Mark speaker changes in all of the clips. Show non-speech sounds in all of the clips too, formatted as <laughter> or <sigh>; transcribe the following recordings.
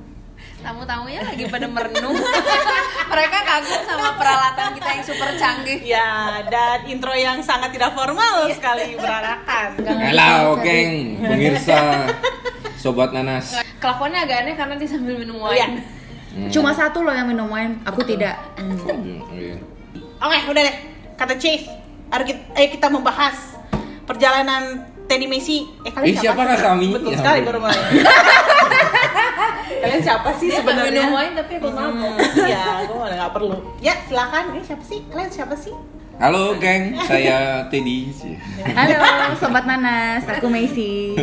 Speaker 1: <laughs> tamu-tamunya lagi pada merenung. <laughs> Mereka kagum sama peralatan kita yang super canggih.
Speaker 2: Ya, dan intro yang sangat tidak formal sekali berarakan.
Speaker 3: Hello, geng, pemirsa, sobat nanas.
Speaker 1: Kelakuannya agak aneh karena dia sambil minum
Speaker 2: Iya.
Speaker 1: wine.
Speaker 3: Hmm.
Speaker 4: Cuma satu loh yang minum wine, aku tidak.
Speaker 3: Hmm, iya.
Speaker 2: <laughs> Oke, udah deh. Kata Chase, ayo kita, ayo kita membahas perjalanan Teddy Messi. Eh, kalian
Speaker 3: Ih, siapa kah kami?
Speaker 2: Betul
Speaker 3: Ya
Speaker 2: sekali
Speaker 3: ampun.
Speaker 2: baru mulai. <laughs> kalian siapa sih
Speaker 1: Dia nggak minum
Speaker 2: sebenarnya?
Speaker 1: wine tapi aku mabok.
Speaker 2: Hmm, Iya, gue malah nggak perlu. Ya, silakan. Ini siapa sih? Kalian siapa sih?
Speaker 3: Halo, geng, saya Teddy.
Speaker 4: Halo, sobat nanas, aku Messi.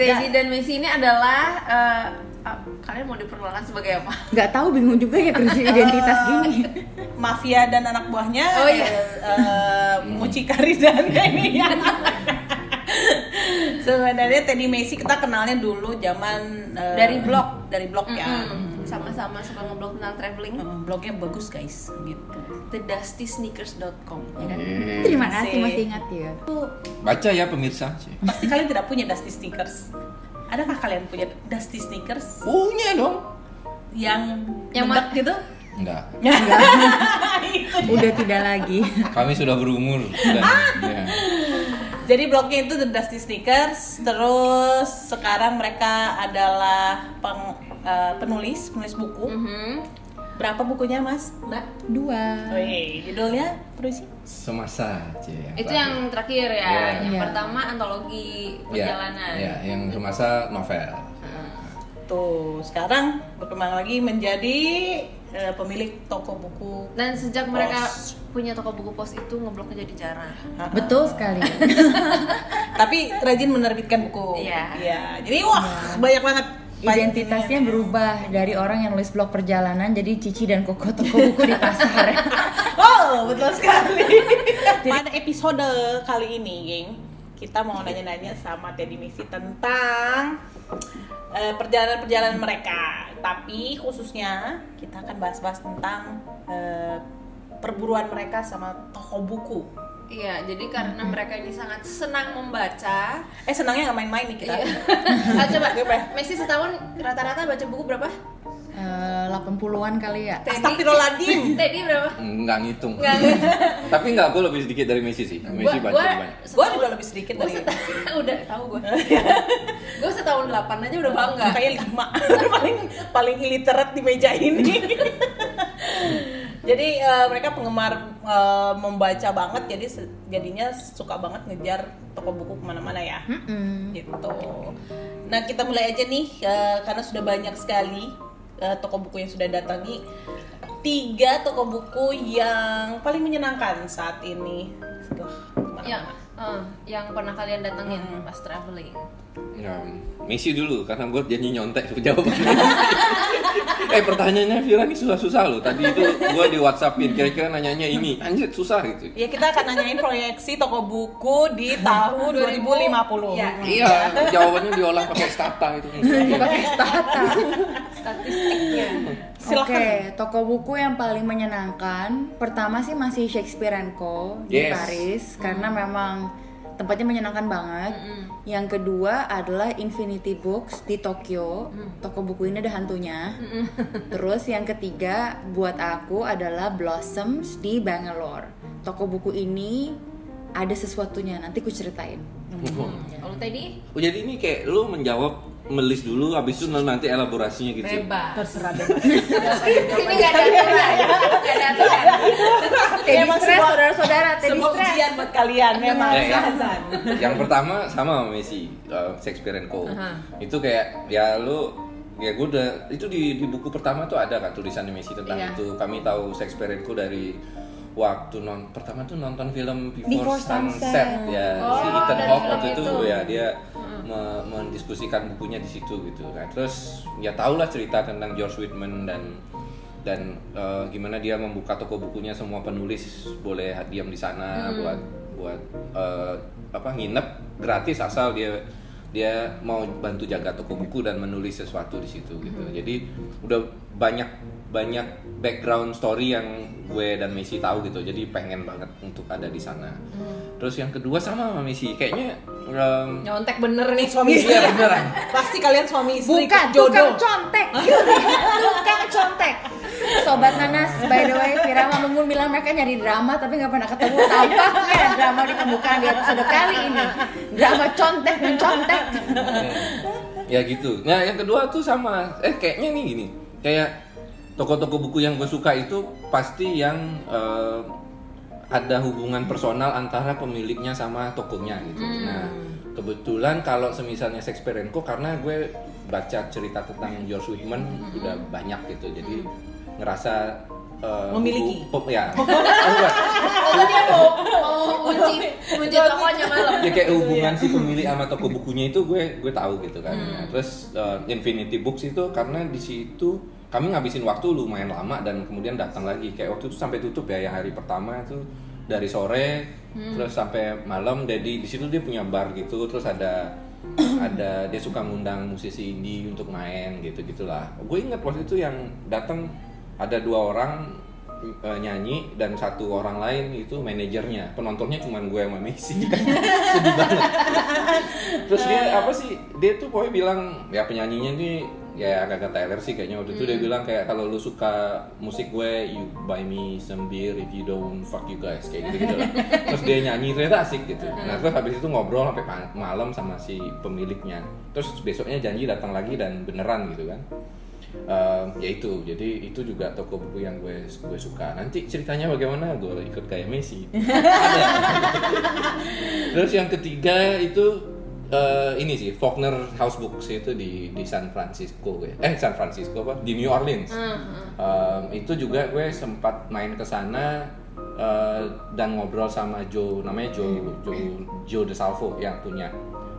Speaker 1: Teddy dan Messi ini adalah eh, ah, kalian mau diperkenalkan sebagai apa?
Speaker 4: Gak tahu bingung juga ya krisis identitas gini.
Speaker 2: <laughs> Mafia dan anak buahnya.
Speaker 1: Oh, iya.
Speaker 2: eh, eh, mucikari dan ini. Sebenarnya Teddy Messi kita kenalnya dulu zaman eh,
Speaker 1: Dari blog.
Speaker 2: dari blog ya.
Speaker 1: Mm-mm. Sama-sama suka ngeblog tentang traveling.
Speaker 2: Eh, blognya bagus guys gitu.
Speaker 1: TheDustySneakers.com ya kan?
Speaker 3: Hmm.
Speaker 4: Terima kasih masih ingat ya.
Speaker 3: Baca ya pemirsa.
Speaker 2: Pasti kalian tidak punya Dusty Sneakers. Adakah kalian punya Dusty Sneakers
Speaker 3: Punya dong.
Speaker 2: yang
Speaker 1: Yang
Speaker 2: mendek
Speaker 1: ma-
Speaker 2: gitu?
Speaker 3: Enggak,
Speaker 2: Itu.
Speaker 4: Udah tidak lagi.
Speaker 3: kami sudah berumur. Dan, ya.
Speaker 2: Jadi blognya itu The Dusty Sneakers, terus sekarang mereka adalah peng- eh, penulis, penulis buku.
Speaker 1: Mhm.
Speaker 2: Berapa bukunya, Mas? Mbak?
Speaker 4: Dua.
Speaker 2: Wih, judulnya Perusi?
Speaker 3: Semasa. Cie,
Speaker 1: Itu yang terakhir ya. Iya.
Speaker 3: Iya.
Speaker 1: Yang
Speaker 4: Iya.
Speaker 1: pertama antologi
Speaker 3: Ya,
Speaker 1: perjalanan.
Speaker 3: ya, yang semasa novel.
Speaker 2: Tuh, sekarang berkembang lagi menjadi eh, pemilik toko buku.
Speaker 1: Dan sejak mereka
Speaker 2: Pos.
Speaker 1: punya toko buku pos itu ngebloknya jadi jarang.
Speaker 4: Betul sekali.
Speaker 2: Tapi rajin menerbitkan buku.
Speaker 1: Iya.
Speaker 2: Jadi wah, banyak banget
Speaker 4: Identitasnya berubah dari orang yang nulis blog perjalanan jadi Cici dan Koko toko buku di pasar.
Speaker 2: Oh, betul sekali. <laughs> Pada episode kali ini, geng, kita mau nanya-nanya sama Teddy Messi tentang eh, perjalanan-perjalanan mereka. Tapi khususnya kita akan bahas-bahas tentang eh, perburuan mereka sama toko buku.
Speaker 1: Iya, jadi karena mereka ini sangat senang
Speaker 2: <laughs>
Speaker 1: membaca.
Speaker 2: Eh, senangnya nggak main-main nih kita.
Speaker 1: Iya. Ah, coba,
Speaker 2: Coba.
Speaker 1: Messi setahun rata-rata baca buku berapa?
Speaker 4: Eh, 80-an kali ya.
Speaker 1: Teddy.
Speaker 2: Astagfirullahaladzim.
Speaker 1: <laughs> Teddy berapa?
Speaker 3: Enggak ngitung.
Speaker 1: Enggak.
Speaker 3: Tapi enggak, gue lebih sedikit dari Messi sih. Messi baca banyak.
Speaker 2: Gue udah lebih sedikit
Speaker 1: Gue
Speaker 2: dari
Speaker 1: setahun <laughs> udah tahu
Speaker 2: <laughs>
Speaker 1: gue. gue setahun 8 aja udah bangga.
Speaker 2: Kayak lima <laughs> paling paling illiterate di meja ini. <laughs> jadi eh, mereka penggemar eh, membaca banget, jadi se- jadinya suka banget ngejar toko buku kemana-mana ya.
Speaker 4: Mm-mm.
Speaker 2: Gitu. Nah kita mulai aja nih eh, karena sudah banyak sekali eh, toko buku yang sudah datangi. Tiga toko buku yang paling menyenangkan saat ini. Wah, kemana-mana.
Speaker 1: Ya, eh, yang pernah kalian datengin
Speaker 2: Hmm.
Speaker 1: pas traveling.
Speaker 3: Ya, Messi dulu karena gue janji nyontek jawabannya. <laughs> eh pertanyaannya Vira ini susah-susah loh. Tadi itu gue di WhatsAppin kira-kira nanyanya ini. Anjir susah gitu.
Speaker 2: Ya kita akan nanyain proyeksi toko buku <laughs> di tahun 2050.
Speaker 1: Ya.
Speaker 3: Iya, jawabannya diolah pakai stata itu.
Speaker 4: Pakai stata.
Speaker 1: Statistiknya.
Speaker 2: Silakan.
Speaker 4: Oke, toko buku yang paling menyenangkan pertama sih masih Shakespeare and Co di
Speaker 3: Yes.
Speaker 4: Paris karena memang tempatnya menyenangkan banget. Yang kedua adalah Infinity Books di Tokyo. Toko buku ini ada hantunya. Terus yang ketiga buat aku adalah Blossoms di Bangalore. Toko buku ini ada sesuatunya nanti ku ceritain.
Speaker 1: Kalau Teddy
Speaker 3: Oh, jadi ini kayak lu menjawab melis dulu habis itu nanti elaborasinya gitu.
Speaker 1: bebas. <laughs> Ini
Speaker 2: Ini
Speaker 1: gak ada aturan. Gak ada aturan.
Speaker 4: Teddy
Speaker 2: Iya, Emang
Speaker 4: stress
Speaker 2: semua-
Speaker 4: saudara-saudara, Teddy
Speaker 2: Semua
Speaker 4: stress.
Speaker 2: ujian buat kalian Iya, memang
Speaker 3: Ya, ya.
Speaker 2: Zan.
Speaker 3: Yang pertama sama sama Messi, uh, Shakespeare and Co.
Speaker 1: Aha.
Speaker 3: Itu kayak ya lu ya gue udah itu di, di buku pertama tuh ada kan tulisan Messi tentang
Speaker 1: Iya.
Speaker 3: itu. Kami tahu Shakespeare and Co dari waktu non pertama tuh nonton film Before,
Speaker 4: Before
Speaker 3: Sunset.
Speaker 4: Sunset.
Speaker 3: ya
Speaker 1: Oh,
Speaker 3: si Ethan
Speaker 1: dari
Speaker 3: Hawke
Speaker 1: film
Speaker 3: waktu itu,
Speaker 1: itu.
Speaker 3: ya dia me- mendiskusikan bukunya di situ gitu. Nah, terus ya tahulah cerita tentang George Whitman dan dan eh, gimana dia membuka toko bukunya semua penulis boleh
Speaker 1: Mm.
Speaker 3: diam di sana buat buat eh, apa nginep gratis asal dia dia mau bantu jaga toko buku dan menulis sesuatu di situ gitu. Jadi udah banyak banyak background story yang gue dan Messi tahu gitu. Jadi pengen banget untuk ada di sana. Terus yang kedua sama sama Messi, kayaknya em,
Speaker 2: Nyontek bener nih suami istri.
Speaker 3: Iya beneran.
Speaker 2: Pasti kalian suami istri
Speaker 4: Bukan,
Speaker 2: jodoh.
Speaker 4: tukang contek. <laughs> tukang contek. Sobat Nanas, by the way, Firama Munggun bilang mereka nyari drama tapi nggak pernah ketemu. Tampaknya drama ditemukan di episode kali ini. Drama contek mencontek.
Speaker 3: <laughs> ya gitu. Nah yang kedua tuh sama, eh kayaknya nih gini, kayak toko-toko buku yang gue suka itu pasti yang eh, ada hubungan personal antara pemiliknya sama tokonya gitu. Nah kebetulan kalau semisalnya Shakespeare and Co karena gue baca cerita tentang George Whitman udah banyak gitu, jadi ngerasa eh,
Speaker 2: Memiliki.
Speaker 3: hubu- ya. Oh, enggak.
Speaker 1: Oh, dia mau mau kunci kunci tokonya malam.
Speaker 3: ya kayak hubungan si pemilik sama toko bukunya itu gue gue tahu gitu kan Nah, terus uh, Infinity Books itu karena di situ kami ngabisin waktu lumayan lama dan kemudian datang lagi kayak waktu itu sampai tutup ya yang hari pertama itu dari sore terus sampai malam jadi di situ dia punya bar gitu terus ada ada dia suka ngundang musisi indie untuk main gitu gitulah gue inget waktu itu yang datang ada dua orang eh, nyanyi dan satu orang lain itu manajernya penontonnya cuma gue sama Messi kan sedih banget terus dia apa sih dia tuh pokoknya bilang ya penyanyinya nih ya agak-agak Taylor sih kayaknya waktu itu dia bilang kayak kalau lu suka musik gue you buy me some beer if you don't fuck you guys kayak gitu gitu lah terus dia nyanyi ternyata asik gitu nah terus habis itu ngobrol sampai pa- malam sama si pemiliknya terus besoknya janji datang lagi dan beneran gitu kan Ehm, ya itu jadi itu juga toko buku yang gue gue suka nanti ceritanya bagaimana gue ikut kayak Messi terus yang ketiga itu eh, ini sih Faulkner House Books itu di di San Francisco gue eh San Francisco apa di New Orleans Ehm, itu juga gue sempat main ke sana eh, dan ngobrol sama Joe namanya Joe Joe Joe DeSalvo yang punya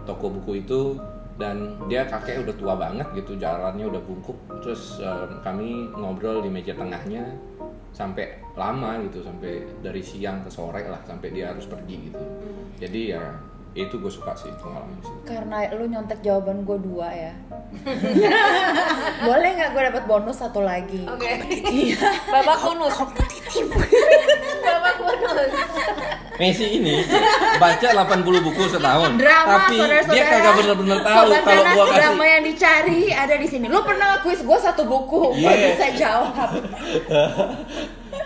Speaker 3: toko buku itu dan dia kakek udah tua banget gitu jalannya udah bungkuk terus em, kami ngobrol di meja tengahnya sampai lama gitu sampai dari siang ke sore lah sampai dia harus pergi gitu jadi ya itu gue suka sih pengalaman sih
Speaker 4: Karena lu nyontek jawaban gue dua ya. Boleh nggak gue dapat bonus satu lagi?
Speaker 1: Oke. Bapak kunus. Bapak kunus.
Speaker 3: Messi ini baca 80 buku setahun
Speaker 4: drama
Speaker 3: tapi
Speaker 4: saudara-saudara
Speaker 3: dia kagak bener-bener tahu
Speaker 4: Sobat
Speaker 3: kalau
Speaker 4: Nanas,
Speaker 3: gue
Speaker 4: drama
Speaker 3: kasih
Speaker 4: yang dicari ada di sini lu pernah kuis gue satu buku gue
Speaker 3: Iya.
Speaker 4: bisa jawab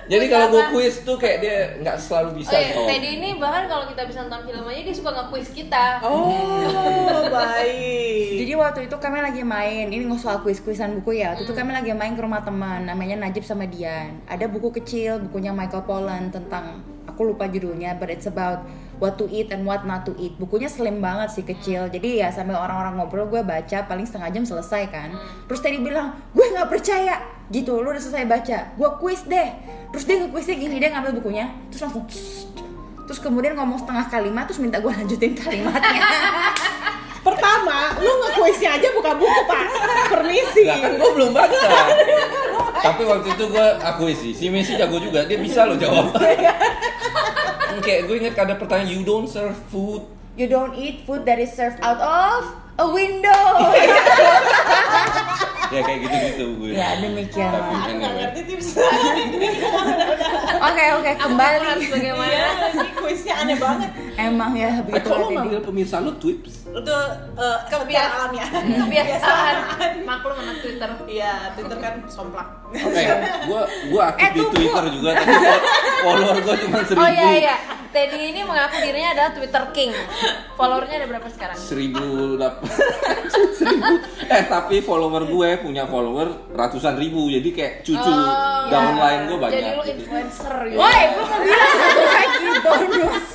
Speaker 3: jadi kalau gue kuis tuh kayak dia nggak selalu
Speaker 1: Oh
Speaker 3: bisa
Speaker 1: iya,
Speaker 3: jawab.
Speaker 1: Teddy ini bahkan kalau kita bisa nonton film aja dia suka nge-quiz kita.
Speaker 2: Oh, baik.
Speaker 4: jadi waktu itu kami lagi main ini nggak soal kuis kuisan buku ya waktu itu kami lagi main ke rumah teman namanya Najib sama Dian ada buku kecil bukunya Michael Pollan tentang aku lupa judulnya but it's about what to eat and what not to eat bukunya slim banget sih kecil jadi ya sambil orang-orang ngobrol gue baca paling setengah jam selesai kan terus Teddy bilang gue nggak percaya gitu lu udah selesai baca gue kuis deh terus dia nge-kuisnya gini dia ngambil bukunya terus langsung terus kemudian ngomong setengah kalimat terus minta gue lanjutin kalimatnya
Speaker 2: Pertama, lu ngekuisnya aja buka buku, Pak. Permisi.
Speaker 3: Lah kan gue belum baca.
Speaker 1: Iya.
Speaker 3: Tapi waktu itu gue akui sih, si Messi jago juga, dia bisa loh jawab.
Speaker 1: Iya.
Speaker 3: Kan Kayak gue inget ada pertanyaan, you don't serve food.
Speaker 4: You don't eat food that is served out of a
Speaker 1: <laughs>
Speaker 4: window.
Speaker 3: Ya kayak gitu-gitu gue.
Speaker 4: ya demikian.
Speaker 3: Tapi kan ya,
Speaker 4: Oke
Speaker 2: Aku nggak ngerti tips lain.
Speaker 3: anyway.
Speaker 4: oke kembali.
Speaker 1: Harus bagaimana?
Speaker 2: Iya, ini kuisnya aneh banget.
Speaker 4: Emang ya
Speaker 1: Eh,
Speaker 4: begitu
Speaker 3: Atau lo
Speaker 4: Teddy.
Speaker 3: Eh, manggil pemirsa lo twips?
Speaker 2: Itu eh, secara
Speaker 1: Kebiasaan.
Speaker 2: alamiah.
Speaker 1: Kebiasaan. Maklum anak Twitter.
Speaker 2: Iya, Twitter kan somplak.
Speaker 3: Eh,
Speaker 1: Iya.
Speaker 3: gue gue aktif
Speaker 4: Eh,
Speaker 3: di
Speaker 4: tunggu.
Speaker 3: Twitter juga, tapi follower gue cuma
Speaker 1: Oh
Speaker 3: seribu.
Speaker 1: iya iya. Teddy ini mengaku dirinya adalah Twitter King. Followernya ada berapa sekarang?
Speaker 3: seribu dap- <laughs> seribu eh tapi follower gue punya follower ratusan ribu jadi kayak cucu
Speaker 1: Oh,
Speaker 3: downline gue banyak
Speaker 1: Jadi lu
Speaker 3: gitu.
Speaker 1: influencer gitu.
Speaker 4: Woi, gue mau bilang satu lagi bonus.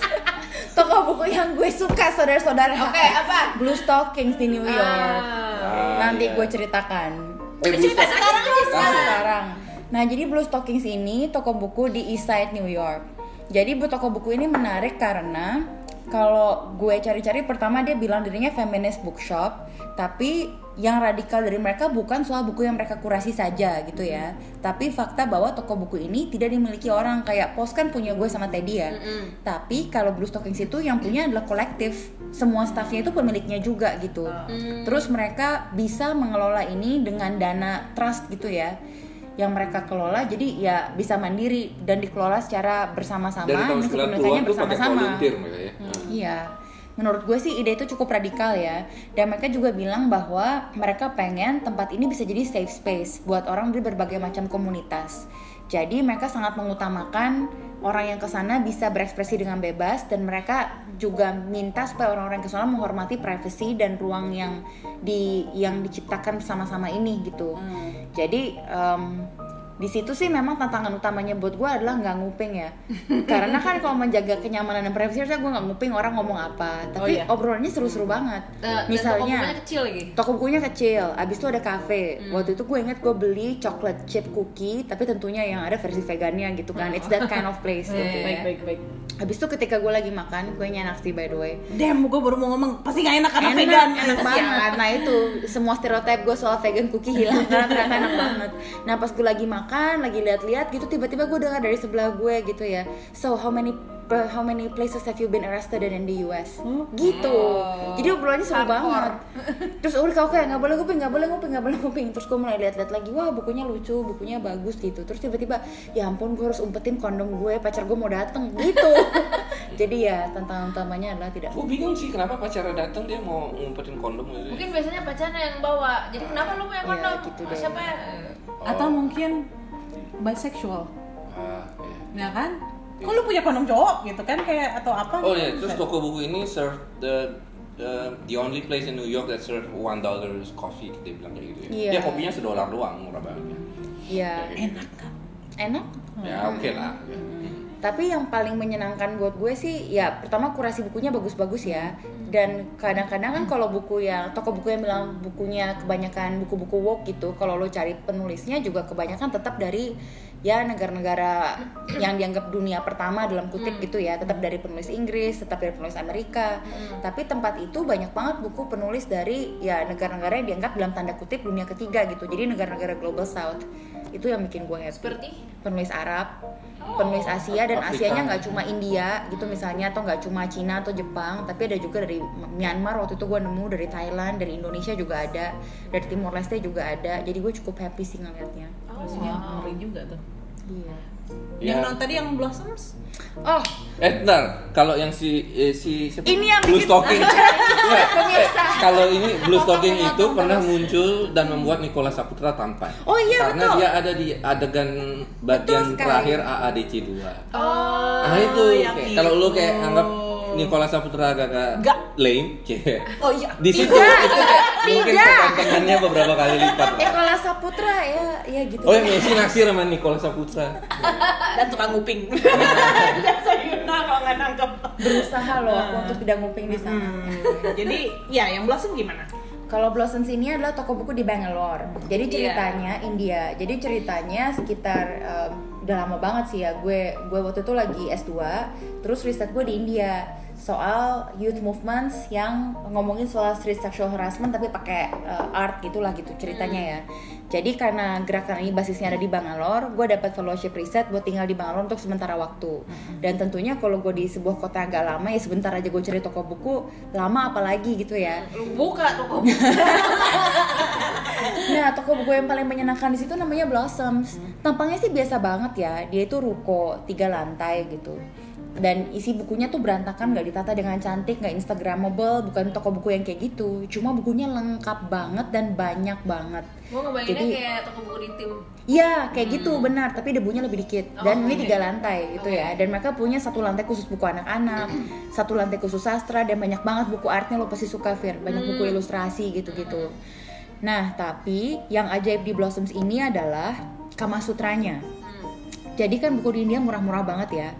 Speaker 4: Toko buku yang gue suka saudara-saudara.
Speaker 1: Oke, apa?
Speaker 4: Blue Stockings di New York.
Speaker 1: Ah.
Speaker 3: Ah,
Speaker 4: Nanti
Speaker 3: iya.
Speaker 4: gue ceritakan.
Speaker 3: eh,
Speaker 1: Cerita
Speaker 3: buset.
Speaker 1: sekarang aja
Speaker 4: Nah,
Speaker 1: sekarang.
Speaker 4: sekarang. Nah, jadi Blue Stockings ini toko buku di East Side New York. Jadi bu toko buku ini menarik karena kalau gue cari-cari pertama dia bilang dirinya feminist bookshop tapi yang radikal dari mereka bukan soal buku yang mereka kurasi saja gitu ya tapi fakta bahwa toko buku ini tidak dimiliki orang kayak pos kan punya gue sama Teddy ya
Speaker 1: Mm-mm.
Speaker 4: tapi kalau Blue Stockings itu yang punya adalah kolektif semua staffnya itu pemiliknya juga gitu
Speaker 3: Ah.
Speaker 4: terus mereka bisa mengelola ini dengan dana trust gitu ya yang mereka kelola jadi ya bisa mandiri dan dikelola secara bersama-sama
Speaker 3: dari tahun
Speaker 4: dan
Speaker 3: 90-an
Speaker 4: kepemilikannya
Speaker 3: tuh pakai
Speaker 4: bersama-sama
Speaker 3: volunteer mereka ya. Hmm.
Speaker 4: Iya. Menurut gue sih ide itu cukup radikal ya. Dan mereka juga bilang bahwa mereka pengen tempat ini bisa jadi safe space buat orang dari berbagai macam komunitas. Jadi mereka sangat mengutamakan orang yang kesana bisa berekspresi dengan bebas dan mereka juga minta supaya orang-orang yang kesana menghormati privacy dan ruang yang di yang diciptakan bersama-sama ini gitu. Jadi em, di situ sih memang tantangan utamanya buat gue adalah nggak nguping ya. Karena kan kalau menjaga kenyamanan dan privacy, harusnya gue nggak nguping orang ngomong apa. Tapi
Speaker 2: Oh, iya.
Speaker 4: obrolannya seru-seru banget.
Speaker 1: Eh, dan toko bukunya
Speaker 4: Misalnya
Speaker 1: kecil lagi
Speaker 4: toko bukunya kecil, abis itu ada cafe. Waktu itu gue inget gue beli coklat chip cookie, tapi tentunya yang ada versi vegannya gitu kan. It's that kind of place gitu
Speaker 1: Iya.
Speaker 2: baik
Speaker 4: ya.
Speaker 2: baik baik
Speaker 4: Abis itu ketika gue lagi makan, gue enak sih by the way.
Speaker 2: Damn, gue baru mau ngomong pasti gak enak karena
Speaker 4: enak,
Speaker 2: vegan.
Speaker 4: enak banget. Nah itu semua stereotip gue soal vegan cookie hilang karena ternyata enak banget. Nah pas gue lagi makan, lagi lihat-lihat gitu, tiba-tiba gue dengar dari sebelah gue gitu ya. So how many how many places have you been arrested in the US? Gitu. Jadi obrolannya seru banget. Terus udah oke nggak boleh nguping, nggak boleh nguping, nggak boleh nguping. Terus gue mulai lihat-lihat lagi, wah bukunya lucu, bukunya bagus gitu. Terus tiba-tiba, ya ampun gue harus umpetin kondom gue, pacar gue mau dateng gitu. Jadi ya tantangan utamanya adalah tidak
Speaker 3: Gue bingung sih kenapa pacarnya datang dia mau ngumpetin kondom gitu.
Speaker 1: mungkin biasanya pacarnya yang bawa jadi kenapa lu punya
Speaker 4: Iya,
Speaker 1: kondom
Speaker 4: gitu
Speaker 1: Ah,
Speaker 4: deh.
Speaker 1: siapa ya
Speaker 2: Atau mungkin bisexual,
Speaker 3: Ah, iya.
Speaker 2: ya kan? Kok lu punya kondom cowok gitu kan kayak atau apa?
Speaker 3: Oh
Speaker 2: gitu.
Speaker 3: ya, terus toko buku ini serve the the, the only place in New York that serve one dollar coffee dia bilang kayak gitu ya.
Speaker 4: Iya.
Speaker 3: Dia kopinya sedolar doang murah banget.
Speaker 4: Ya,
Speaker 2: enak kan?
Speaker 4: enak.
Speaker 3: Ya oke lah. Ya.
Speaker 4: Tapi yang paling menyenangkan buat gue sih, ya pertama kurasi bukunya bagus-bagus ya. Dan kadang-kadang kan kalau buku yang toko buku yang bilang bukunya kebanyakan buku-buku woke gitu, kalau lo cari penulisnya juga kebanyakan tetap dari ya negara-negara yang dianggap dunia pertama dalam kutip gitu ya, tetap dari penulis Inggris, tetap dari penulis Amerika. Tapi tempat itu banyak banget buku penulis dari ya negara-negara yang dianggap dalam tanda kutip dunia ketiga gitu. Jadi negara-negara global south. Itu yang bikin gue happy
Speaker 1: seperti
Speaker 4: penulis Arab, penulis Asia dan
Speaker 3: Afrika.
Speaker 4: Asianya nggak cuma India gitu misalnya atau nggak cuma Cina atau Jepang, tapi ada juga dari Myanmar waktu itu gue nemu dari Thailand, dari Indonesia juga ada, dari Timor Leste juga ada. Jadi gue cukup happy sih ngeliatnya.
Speaker 2: Terusnya ngeri juga tuh.
Speaker 4: Iya.
Speaker 2: Yang
Speaker 3: Ya.
Speaker 2: non tadi yang blossoms.
Speaker 4: Oh,
Speaker 3: Eh, bentar. Kalau yang si eh, si siapa?
Speaker 4: Ini yang
Speaker 3: Blue
Speaker 4: bikin- <laughs> Iya,
Speaker 3: Stocking. Nggak, eh, Kalau ini Blue Stocking
Speaker 1: Potong-potong
Speaker 3: itu pernah
Speaker 1: terus.
Speaker 3: muncul dan membuat Nicola Saputra tampan.
Speaker 4: Oh, iya,
Speaker 3: Karena
Speaker 4: betul.
Speaker 3: dia ada di adegan bagian
Speaker 4: sekali.
Speaker 3: terakhir AADC 2.
Speaker 2: Oh,
Speaker 3: nah itu.
Speaker 2: yang
Speaker 3: Kayak- Kalau lu kayak
Speaker 2: itu.
Speaker 3: anggap Nicola Saputra agak-agak
Speaker 2: Nggak.
Speaker 3: lame, <laughs> cie.
Speaker 2: Oh iya.
Speaker 3: Di situ itu kayak mungkin kegantengannya beberapa kali lipat. lah.
Speaker 4: Ekola Eh, Saputra ya, ya gitu.
Speaker 3: Oh, yang Messi naksir sama Nicola Saputra.
Speaker 2: Dan tukang
Speaker 3: <laughs>
Speaker 2: nguping.
Speaker 3: Iya.
Speaker 2: Dan Sayuna kalau nggak nangkep. Hmm,
Speaker 4: Berusaha loh aku untuk tidak nguping di sana.
Speaker 2: Jadi, ya yang blossom gimana?
Speaker 4: Kalau Blossoms ini adalah toko buku di Bangalore. Jadi ceritanya India. Jadi ceritanya sekitar em, udah lama banget sih ya. Gue gue waktu itu lagi S2, terus riset gue di India soal youth movements yang ngomongin soal street sexual harassment tapi pakai eh, art gitulah gitu ceritanya ya. Jadi karena gerakan ini basisnya ada di Bangalore, gue dapat fellowship riset buat tinggal di Bangalore untuk sementara waktu. Dan tentunya kalau gue di sebuah kota agak lama ya sebentar aja gue cari toko buku, lama apalagi gitu ya.
Speaker 2: Lu buka toko buku.
Speaker 4: Nah, toko buku yang paling menyenangkan di situ namanya Blossoms. Tampangnya sih biasa banget ya. Dia itu ruko tiga lantai gitu. Dan isi bukunya tuh berantakan, nggak ditata dengan cantik, nggak instagramable, bukan toko buku yang kayak gitu. Cuma bukunya lengkap banget dan banyak banget.
Speaker 1: gua ngebayanginnya
Speaker 4: Jadi-
Speaker 1: kayak toko buku di tim
Speaker 4: Iya, kayak gitu benar, tapi debunya lebih dikit. Dan
Speaker 1: Hmm. Oh,
Speaker 4: ini
Speaker 1: oke.
Speaker 4: tiga lantai gitu ya. Dan mereka punya satu lantai khusus buku anak-anak, <clears throat> satu lantai khusus sastra dan banyak banget buku artnya lo pasti suka Fir, banyak buku
Speaker 1: Hmm.
Speaker 4: ilustrasi gitu-gitu. Nah, tapi yang ajaib di Blossoms ini adalah Kama Sutranya. jadi kan buku di India murah-murah banget ya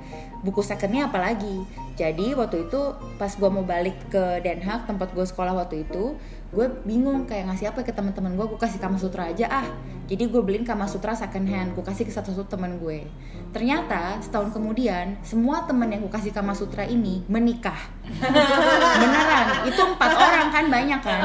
Speaker 4: buku secondnya apalagi jadi waktu itu pas gue mau balik ke Den Haag tempat gue sekolah waktu itu gue bingung kayak ngasih apa ke teman-teman gue gue kasih Kama Sutra aja ah jadi gue beliin Kama Sutra second hand gue kasih ke satu satu teman gue ternyata setahun kemudian semua temen yang gue kasih Kama Sutra ini menikah <laughs> beneran itu
Speaker 2: <laughs>
Speaker 4: empat orang kan banyak kan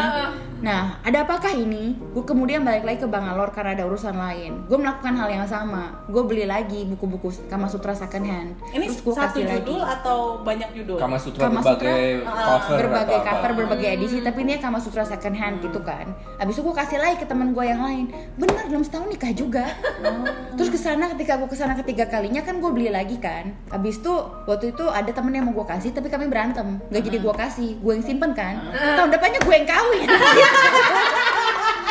Speaker 4: nah ada apakah ini gue kemudian balik lagi ke Bangalore karena ada urusan lain gue melakukan hal yang sama gue beli lagi buku-buku Kama Sutra second hand
Speaker 2: Ini
Speaker 4: terus gue
Speaker 2: satu
Speaker 4: kasih lagi
Speaker 2: judul atau banyak judul?
Speaker 3: Kama Sutra
Speaker 4: Kama
Speaker 3: berbagai
Speaker 4: Sutra,
Speaker 3: cover
Speaker 4: berbagai
Speaker 3: atau apa.
Speaker 4: cover, berbagai edisi, tapi ini Kama Sutra second hand gitu kan. Abis itu gue kasih lagi ke teman gue yang lain. Bener dalam setahun nikah juga.
Speaker 3: Oh.
Speaker 4: Terus kesana ketika gue kesana ketiga kalinya kan gue beli lagi kan. Abis itu waktu itu ada temen yang mau gue kasih, tapi kami berantem. Gak jadi gue kasih, gue yang simpen kan.
Speaker 3: Ah.
Speaker 4: Tahun depannya gue yang kawin.
Speaker 3: <laughs>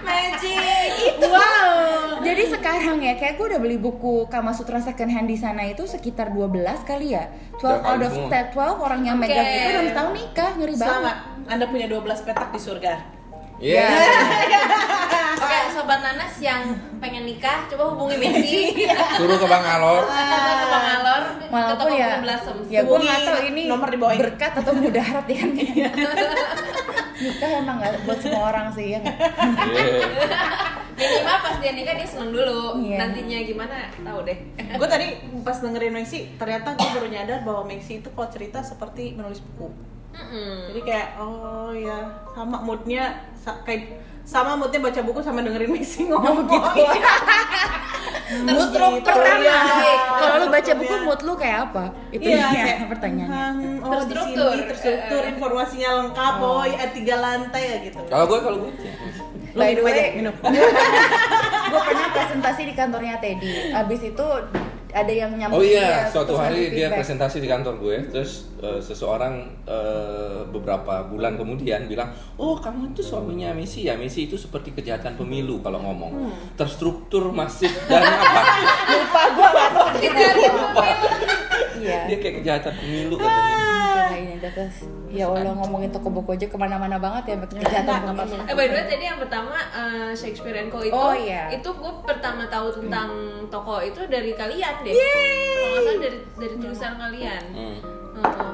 Speaker 1: <laughs> Magic.
Speaker 2: Wow.
Speaker 4: jadi sekarang ya, kayak gue udah beli buku Kama Sutra second hand di sana itu sekitar 12 kali ya. 12 out of
Speaker 3: Udah kawin
Speaker 4: 12 orang yang
Speaker 1: Oke.
Speaker 4: megang itu dalam setahun nikah, ngeri banget.
Speaker 2: Selamat. Anda punya 12 petak di surga.
Speaker 3: Iya.
Speaker 1: Oke, sobat nanas yang pengen nikah, coba hubungi Messi.
Speaker 4: Iya.
Speaker 3: Suruh ke Bang Alor.
Speaker 1: Atau ke Bangalore, ke
Speaker 4: Walaupun
Speaker 1: toko
Speaker 4: ya,
Speaker 1: buku Blasem.
Speaker 4: ya gue
Speaker 2: Hubungi
Speaker 4: nggak tahu ini
Speaker 2: nomor di bawah ini.
Speaker 4: berkat atau mudarat ya kan nikah emang nggak buat semua orang sih ya nggak?
Speaker 3: Iya.
Speaker 1: Minimal pas dia nikah dia seneng dulu.
Speaker 4: Iya.
Speaker 1: Nantinya gimana tahu deh.
Speaker 2: Gue tadi pas dengerin Mexi, ternyata gue baru nyadar bahwa Mexi itu kalau cerita seperti menulis buku.
Speaker 1: Mm-mm.
Speaker 2: Jadi kayak oh ya sama moodnya sa- kayak sama moodnya baca buku sama dengerin Mexi ngomong gitu.
Speaker 4: Oh, <laughs> mood
Speaker 2: Terus
Speaker 4: lu
Speaker 2: gitu,
Speaker 4: pertama
Speaker 2: iya.
Speaker 4: kalau lu baca
Speaker 2: Terus
Speaker 4: buku
Speaker 2: ya.
Speaker 4: mood lu kayak apa itu
Speaker 2: Iya,
Speaker 4: dia
Speaker 2: kayak,
Speaker 4: pertanyaannya
Speaker 2: hmm, oh,
Speaker 1: Terstruktur.
Speaker 2: terstruktur, terstruktur,
Speaker 1: Eh, eh.
Speaker 2: informasinya lengkap, oh, ya, tiga lantai ya gitu.
Speaker 4: Oh.
Speaker 3: Kalau gue kalau gue
Speaker 2: Lo
Speaker 4: By the
Speaker 2: minum aja,
Speaker 4: way-
Speaker 2: <laughs> minum.
Speaker 4: gue pernah presentasi di kantornya Teddy abis itu ada yang nyampein
Speaker 3: Oh iya,
Speaker 4: dia,
Speaker 3: suatu
Speaker 4: terus
Speaker 3: hari
Speaker 4: ngasih
Speaker 3: dia
Speaker 4: feedback.
Speaker 3: presentasi di kantor gue, terus eh, seseorang eh, beberapa bulan kemudian bilang, oh kamu itu suaminya Messi ya, Messi itu seperti kejahatan pemilu kalau ngomong,
Speaker 4: Hmm.
Speaker 3: terstruktur masif dan <laughs> apa?
Speaker 4: lupa gue masuk
Speaker 1: Kita
Speaker 3: Lupa.
Speaker 4: iya
Speaker 3: Dia kayak kejahatan pemilu katanya.
Speaker 4: Ah. kirain ada terus ya Allah ngomongin toko buku aja kemana-mana banget ya kejahatan pemilu.
Speaker 1: Eh by the way tadi yang pertama eh, Shakespeare and Co itu
Speaker 4: Oh, iya. Hmm.
Speaker 1: itu gue pertama tahu tentang toko itu dari kalian deh. Kalau nggak salah dari dari tulisan kalian.
Speaker 3: Hmm.
Speaker 1: Heeh.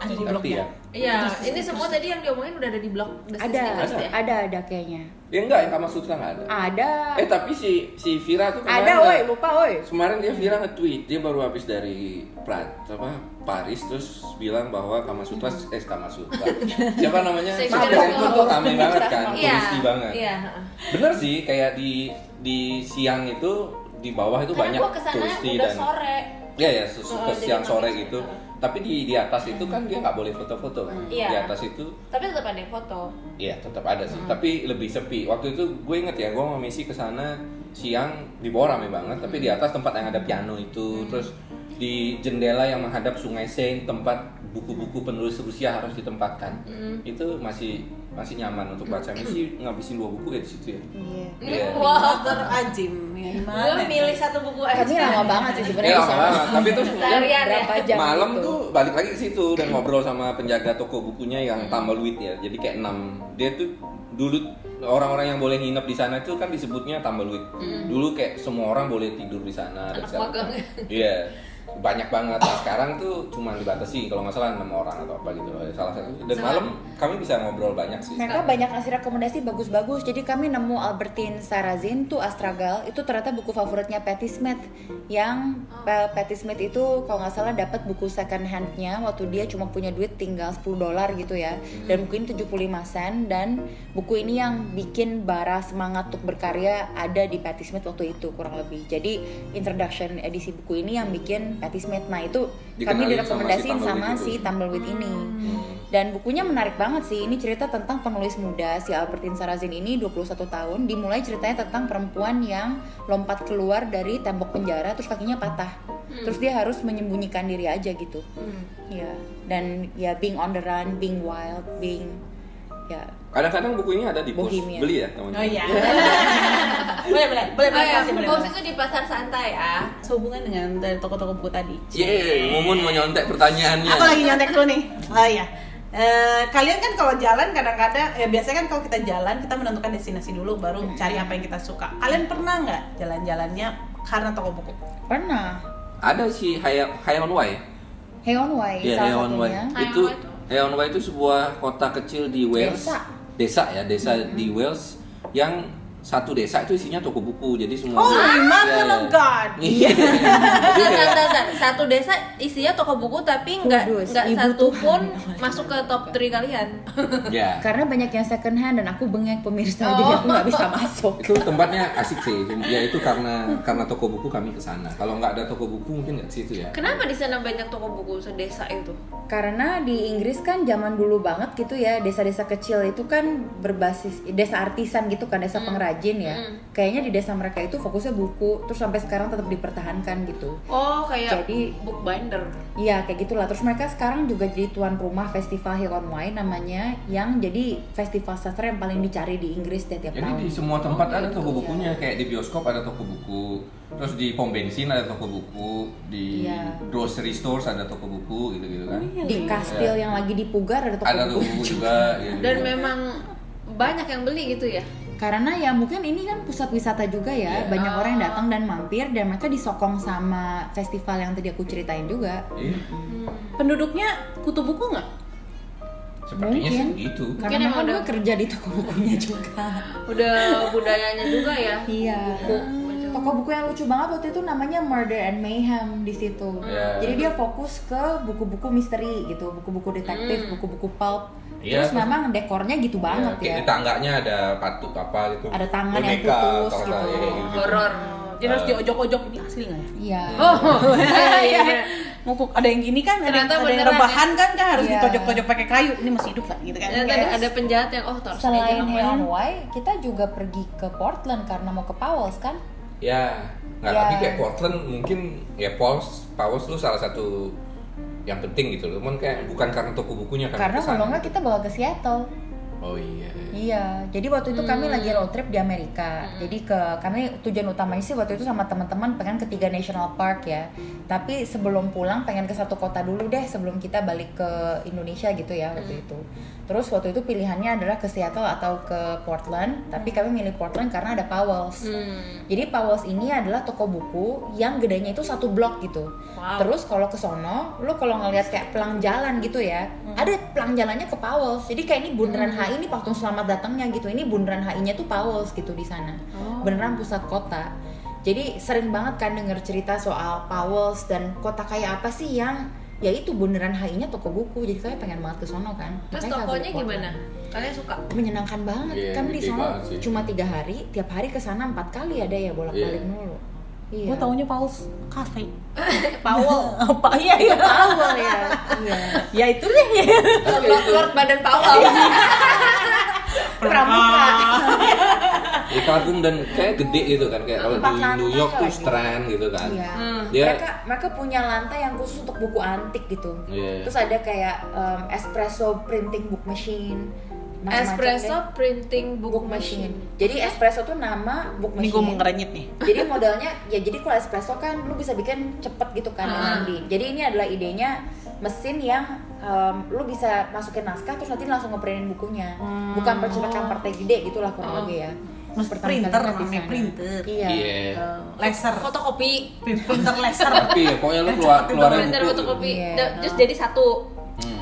Speaker 2: Ada di
Speaker 3: Ngerti
Speaker 2: blognya.
Speaker 3: ya?
Speaker 1: Iya, ini semua tadi yang diomongin udah ada di blog The
Speaker 4: ada
Speaker 1: Sisters ya.
Speaker 4: ada ada kayaknya
Speaker 3: Ya enggak, yang Kama Sutra nggak ada.
Speaker 4: ada
Speaker 3: Eh tapi si si Vira tuh kemarin
Speaker 4: ada woi lupa woi
Speaker 3: Kemarin dia Vira nge-tweet, dia baru habis dari Prat, apa Paris terus bilang bahwa Kama Sutra eh Kama
Speaker 1: <laughs>
Speaker 3: Sutra. Siapa namanya?
Speaker 1: Saya
Speaker 3: Siapa
Speaker 1: kira-
Speaker 3: itu tuh rame banget kan,
Speaker 1: Iya.
Speaker 3: polisi banget.
Speaker 1: Iya, heeh.
Speaker 3: Bener sih, kayak di di siang itu di bawah itu
Speaker 1: Karena
Speaker 3: banyak
Speaker 1: gue kesana
Speaker 3: tulisti
Speaker 1: udah
Speaker 3: dan
Speaker 1: sore.
Speaker 3: Iya ya, se- se-
Speaker 1: Oh,
Speaker 3: ke
Speaker 1: jadi
Speaker 3: siang
Speaker 1: makin
Speaker 3: sore
Speaker 1: sore.
Speaker 3: gitu. Tapi di di atas itu kan dia nggak boleh foto-foto kan.
Speaker 1: Iya.
Speaker 3: Di atas itu
Speaker 1: Tapi tetap ada yang foto.
Speaker 3: Iya tetap ada sih, tapi lebih sepi. Waktu itu gue inget ya, gue sama Messi ke sana siang di bawah rame banget, tapi di atas tempat yang ada piano itu, terus di jendela yang menghadap Sungai Seine tempat buku-buku penulis Rusia harus ditempatkan. Itu masih masih nyaman untuk baca. Messi ngabisin dua buku ya di situ ya.
Speaker 4: Iya.
Speaker 1: Ini
Speaker 3: Iya.
Speaker 1: wow.
Speaker 2: Dokter Ajim, ya gimana?
Speaker 1: Gue milih satu buku aja.
Speaker 4: Kami lama banget sih sebenarnya
Speaker 3: Iya,
Speaker 4: di sana.
Speaker 3: lama banget. Tapi terus kemudian
Speaker 1: Seharian ya.
Speaker 4: berapa jam
Speaker 3: malam
Speaker 4: gitu.
Speaker 3: tuh balik lagi ke situ dan ngobrol sama penjaga toko bukunya yang tambah duit ya jadi kayak enam dia tuh dulu orang-orang yang boleh nginep di sana tuh kan disebutnya tambah duit dulu kayak semua orang boleh tidur di sana dan
Speaker 1: Anak
Speaker 3: segala
Speaker 1: magang.
Speaker 3: macam. iya banyak banget nah sekarang tuh cuma dibatasi kalau nggak salah enam orang atau apa gitu salah satu dan
Speaker 1: Sama.
Speaker 3: malam kami bisa ngobrol banyak sih
Speaker 4: Mereka banyak ngasih rekomendasi bagus-bagus. Jadi kami nemu Albertine Sarazin tuh Astragal itu ternyata buku favoritnya Patti Smith yang Pe- Patti Smith itu kalau nggak salah dapat buku second handnya waktu dia cuma punya duit tinggal 10 dolar gitu ya
Speaker 3: Hmm.
Speaker 4: dan mungkin 75 sen dan buku ini yang bikin bara semangat untuk berkarya ada di Patti Smith waktu itu kurang lebih. Jadi introduction edisi buku ini yang bikin Patti Smith. Nah itu
Speaker 3: Dikenalin
Speaker 4: kami
Speaker 3: sama si
Speaker 4: direkomendasiin sama
Speaker 3: Tumbleweed
Speaker 4: si
Speaker 3: itu.
Speaker 4: Tumbleweed ini.
Speaker 3: Hmm.
Speaker 4: Dan bukunya menarik banget sih. Ini cerita tentang penulis muda si Albertine Sarazin ini 21 tahun dimulai ceritanya tentang perempuan yang lompat keluar dari tembok penjara terus kakinya patah.
Speaker 3: Hmm.
Speaker 4: Terus dia harus menyembunyikan diri aja gitu. Ya, dan ya being on the run, being wild, being ya
Speaker 3: kadang-kadang bukunya ada di pos
Speaker 4: Bohemian.
Speaker 3: beli ya
Speaker 2: Oh
Speaker 3: teman-teman
Speaker 2: iya. <laughs> boleh, boleh, boleh,
Speaker 1: Oh
Speaker 2: boleh,
Speaker 1: ya,
Speaker 2: kasih, boleh,
Speaker 1: Paus
Speaker 2: boleh.
Speaker 1: itu di pasar santai ah.
Speaker 2: iya. Sehubungan dengan dari toko-toko buku tadi.
Speaker 3: Yeay, Mumun mau nyontek pertanyaannya
Speaker 2: Aku lagi nyontek dulu nih. Oh iya. Eh, kalian kan kalau jalan kadang-kadang eh, biasanya kan kalau kita jalan kita menentukan destinasi dulu baru cari apa yang kita suka. Kalian pernah nggak jalan-jalannya karena toko buku?
Speaker 4: Pernah.
Speaker 3: Ada si Haya- Hayon Wai.
Speaker 4: Heon Wai
Speaker 3: Ya,
Speaker 4: salah
Speaker 3: Hayon Wai.
Speaker 4: satunya.
Speaker 1: Hayon
Speaker 3: Itu
Speaker 1: Wai itu.
Speaker 3: Hayon Wai itu sebuah kota kecil di Wales.
Speaker 4: Desa.
Speaker 3: Desa ya, desa di Wales yang satu desa itu isinya toko buku. Jadi semua
Speaker 2: Oh, Mother
Speaker 3: ya,
Speaker 2: of God.
Speaker 3: Iya. Jadi
Speaker 1: Bentar,
Speaker 3: kayak-
Speaker 1: bentar, bentar. Satu desa isinya toko buku tapi nggak
Speaker 4: Kudus,
Speaker 1: nggak
Speaker 4: Ibu
Speaker 1: satu
Speaker 4: Tuhan.
Speaker 1: pun masuk ke top 3 kalian.
Speaker 3: Ya.
Speaker 4: Karena banyak yang second hand dan aku bengek pemirsa
Speaker 1: Oh.
Speaker 4: jadi aku nggak bisa
Speaker 3: <laughs>
Speaker 4: masuk.
Speaker 3: itu tempatnya asik sih ya itu karena karena toko buku kami ke sana kalau nggak ada toko buku mungkin nggak ke situ ya
Speaker 1: Kenapa di sana banyak toko buku sedesa itu?
Speaker 4: Karena di Inggris kan zaman dulu banget gitu ya desa-desa kecil itu kan berbasis desa artisan gitu kan desa pengrajin ya.
Speaker 1: Mm.
Speaker 4: Kayaknya di desa mereka itu fokusnya buku terus sampai sekarang tetap dipertahankan gitu.
Speaker 1: Oh, kayak
Speaker 4: Jadi-
Speaker 1: bookbinder.
Speaker 4: Iya kayak gitulah. Terus mereka sekarang juga jadi tuan rumah festival Here on Wine namanya yang jadi festival sastra yang paling dicari di Inggris setiap
Speaker 3: jadi
Speaker 4: tahun.
Speaker 3: di semua tempat ada toko bukunya kayak di bioskop ada toko buku terus di pom bensin ada toko buku di
Speaker 4: Iya.
Speaker 3: grocery stores ada toko buku gitu gitu kan
Speaker 4: Di kastil yang lagi dipugar ada toko
Speaker 3: ada toko
Speaker 4: buku.
Speaker 3: buku juga ya,
Speaker 1: Dan
Speaker 3: gitu.
Speaker 1: memang banyak yang beli gitu ya.
Speaker 4: Karena ya mungkin ini kan pusat wisata juga
Speaker 3: Iya.
Speaker 4: ya, banyak orang yang datang dan mampir dan mereka disokong sama festival yang tadi aku ceritain juga.
Speaker 3: Iya,
Speaker 2: Penduduknya kutu buku nggak?
Speaker 3: sepertinya sih
Speaker 4: Mungkin.
Speaker 3: begitu
Speaker 1: Mungkin
Speaker 4: Karena
Speaker 1: emang
Speaker 4: memang
Speaker 1: udah-
Speaker 4: gue kerja di toko bukunya juga.
Speaker 1: Udah budayanya juga ya.
Speaker 4: <laughs> Iya. Toko buku yang lucu banget waktu itu namanya Murder and Mayhem di situ.
Speaker 3: Iya.
Speaker 4: Jadi dia fokus ke buku-buku misteri gitu, buku-buku detektif, buku-buku pulp.
Speaker 3: Hmm. Iya.
Speaker 4: Terus memang dekornya gitu banget
Speaker 3: kayak
Speaker 4: ya.
Speaker 3: di tangganya ada patuk apa gitu
Speaker 4: Ada tangan yang
Speaker 3: Boneka, kalau
Speaker 4: putus
Speaker 3: nggak
Speaker 4: gitu.
Speaker 3: salah, ya, kayak gitu.
Speaker 1: Horor.
Speaker 2: Jadi harus diojok-ojok ini asli nggak ya?
Speaker 4: Iya.
Speaker 3: Hmm.
Speaker 2: <laughs>
Speaker 1: Oh, iya.
Speaker 2: Mukuk ada yang gini kan, ada, yang-
Speaker 1: Ternyata
Speaker 2: ada yang
Speaker 1: beneran
Speaker 2: rebahan kan, kan harus
Speaker 4: Iya.
Speaker 2: ditojok-tojok pakai kayu. Ini masih hidup nggak gitu kan?
Speaker 1: Dan tadi
Speaker 2: Kayak-
Speaker 1: ada penjahat yang oh terus
Speaker 4: Selain Hayon Wai, kita juga pergi ke Portland karena mau ke Powell's kan?
Speaker 3: ya nggak
Speaker 4: Ya.
Speaker 3: tapi kayak Portland mungkin ya Paul's Paul's tuh salah satu yang penting gitu loh cuman kayak bukan karena toko bukunya kan
Speaker 4: Karena kalau nggak kita bawa ke Seattle.
Speaker 3: oh iya
Speaker 4: Iya, jadi waktu itu kami lagi road trip di Amerika. Jadi ke kami tujuan utamanya sih waktu itu sama teman-teman pengen ke tiga national park ya. Tapi sebelum pulang pengen ke satu kota dulu deh sebelum kita balik ke Indonesia gitu ya waktu itu. Terus waktu itu pilihannya adalah ke Seattle atau ke Portland, tapi kami milih Portland karena ada Powell's.
Speaker 1: Hmm.
Speaker 4: Jadi Powell's ini adalah toko buku yang gedenya itu satu blok gitu.
Speaker 2: Wow.
Speaker 4: Terus kalau ke sono, lo kalau ngelihat kayak pelang jalan gitu ya,
Speaker 1: Hmm.
Speaker 4: ada pelang jalannya ke Powell's. Jadi kayak ini bundaran HI ini patung selamat datangnya gitu. Ini bundaran HI-nya tuh Powell's gitu di sana.
Speaker 2: Oh,
Speaker 4: Beneran pusat kota. Jadi sering banget kan denger cerita soal Powell's dan kota kaya apa sih yang ya itu bundaran HI-nya toko buku. Jadi kalian pengen banget ke sono kan.
Speaker 1: Terus
Speaker 4: Makanya kagak
Speaker 1: tokonya
Speaker 4: ke Portland
Speaker 1: gimana? Kalian
Speaker 2: <laughs>
Speaker 1: suka?
Speaker 4: menyenangkan banget
Speaker 3: Iya,
Speaker 4: kan di
Speaker 3: gede
Speaker 4: sana
Speaker 3: banget sih.
Speaker 4: cuma tiga hari tiap hari ke sana empat kali ada ya bolak balik
Speaker 3: Iya.
Speaker 4: mulu iya
Speaker 2: Gue taunya Paul's Cafe.
Speaker 1: Powell.
Speaker 2: <laughs> Apa? Iya, iya.
Speaker 4: awal ya iya
Speaker 2: Ya itu deh.
Speaker 1: Lord, Lord Badan Powell.
Speaker 4: pramuka
Speaker 3: di Kagum dan kayak gede gitu kan kayak kalau
Speaker 4: Empat
Speaker 3: di
Speaker 4: lantai
Speaker 3: New York tuh
Speaker 4: lagi.
Speaker 3: Strand gitu kan
Speaker 4: iya
Speaker 1: Hmm.
Speaker 3: Dia-
Speaker 4: mereka mereka punya lantai yang khusus untuk buku antik gitu
Speaker 3: Ya. Iya, iya.
Speaker 4: terus ada kayak em, espresso printing book machine macam-macam deh.
Speaker 1: Espresso printing book
Speaker 4: book
Speaker 1: machine.
Speaker 4: machine jadi espresso tuh nama book
Speaker 2: Ini gue mau
Speaker 4: machine
Speaker 2: ngerenyit nih.
Speaker 4: jadi modalnya ya jadi kalau espresso kan lu bisa bikin cepet gitu kan yang mandi. jadi ini adalah idenya mesin yang em, lu bisa masukin naskah terus nanti langsung ngeprintin bukunya bukan percetakan partai gede gitulah kurang lebih ya
Speaker 2: Mas
Speaker 4: Pertama
Speaker 2: printer,
Speaker 4: kali di
Speaker 2: namanya
Speaker 4: sana.
Speaker 2: printer.
Speaker 4: iya
Speaker 3: Iya.
Speaker 2: Laser.
Speaker 1: Fotokopi.
Speaker 2: Printer <laughs> laser.
Speaker 3: tapi ya, pokoknya lu keluar keluarin Hmm.
Speaker 1: Printer
Speaker 3: buku
Speaker 1: fotokopi.
Speaker 4: Iya.
Speaker 1: Da- Terus jadi satu.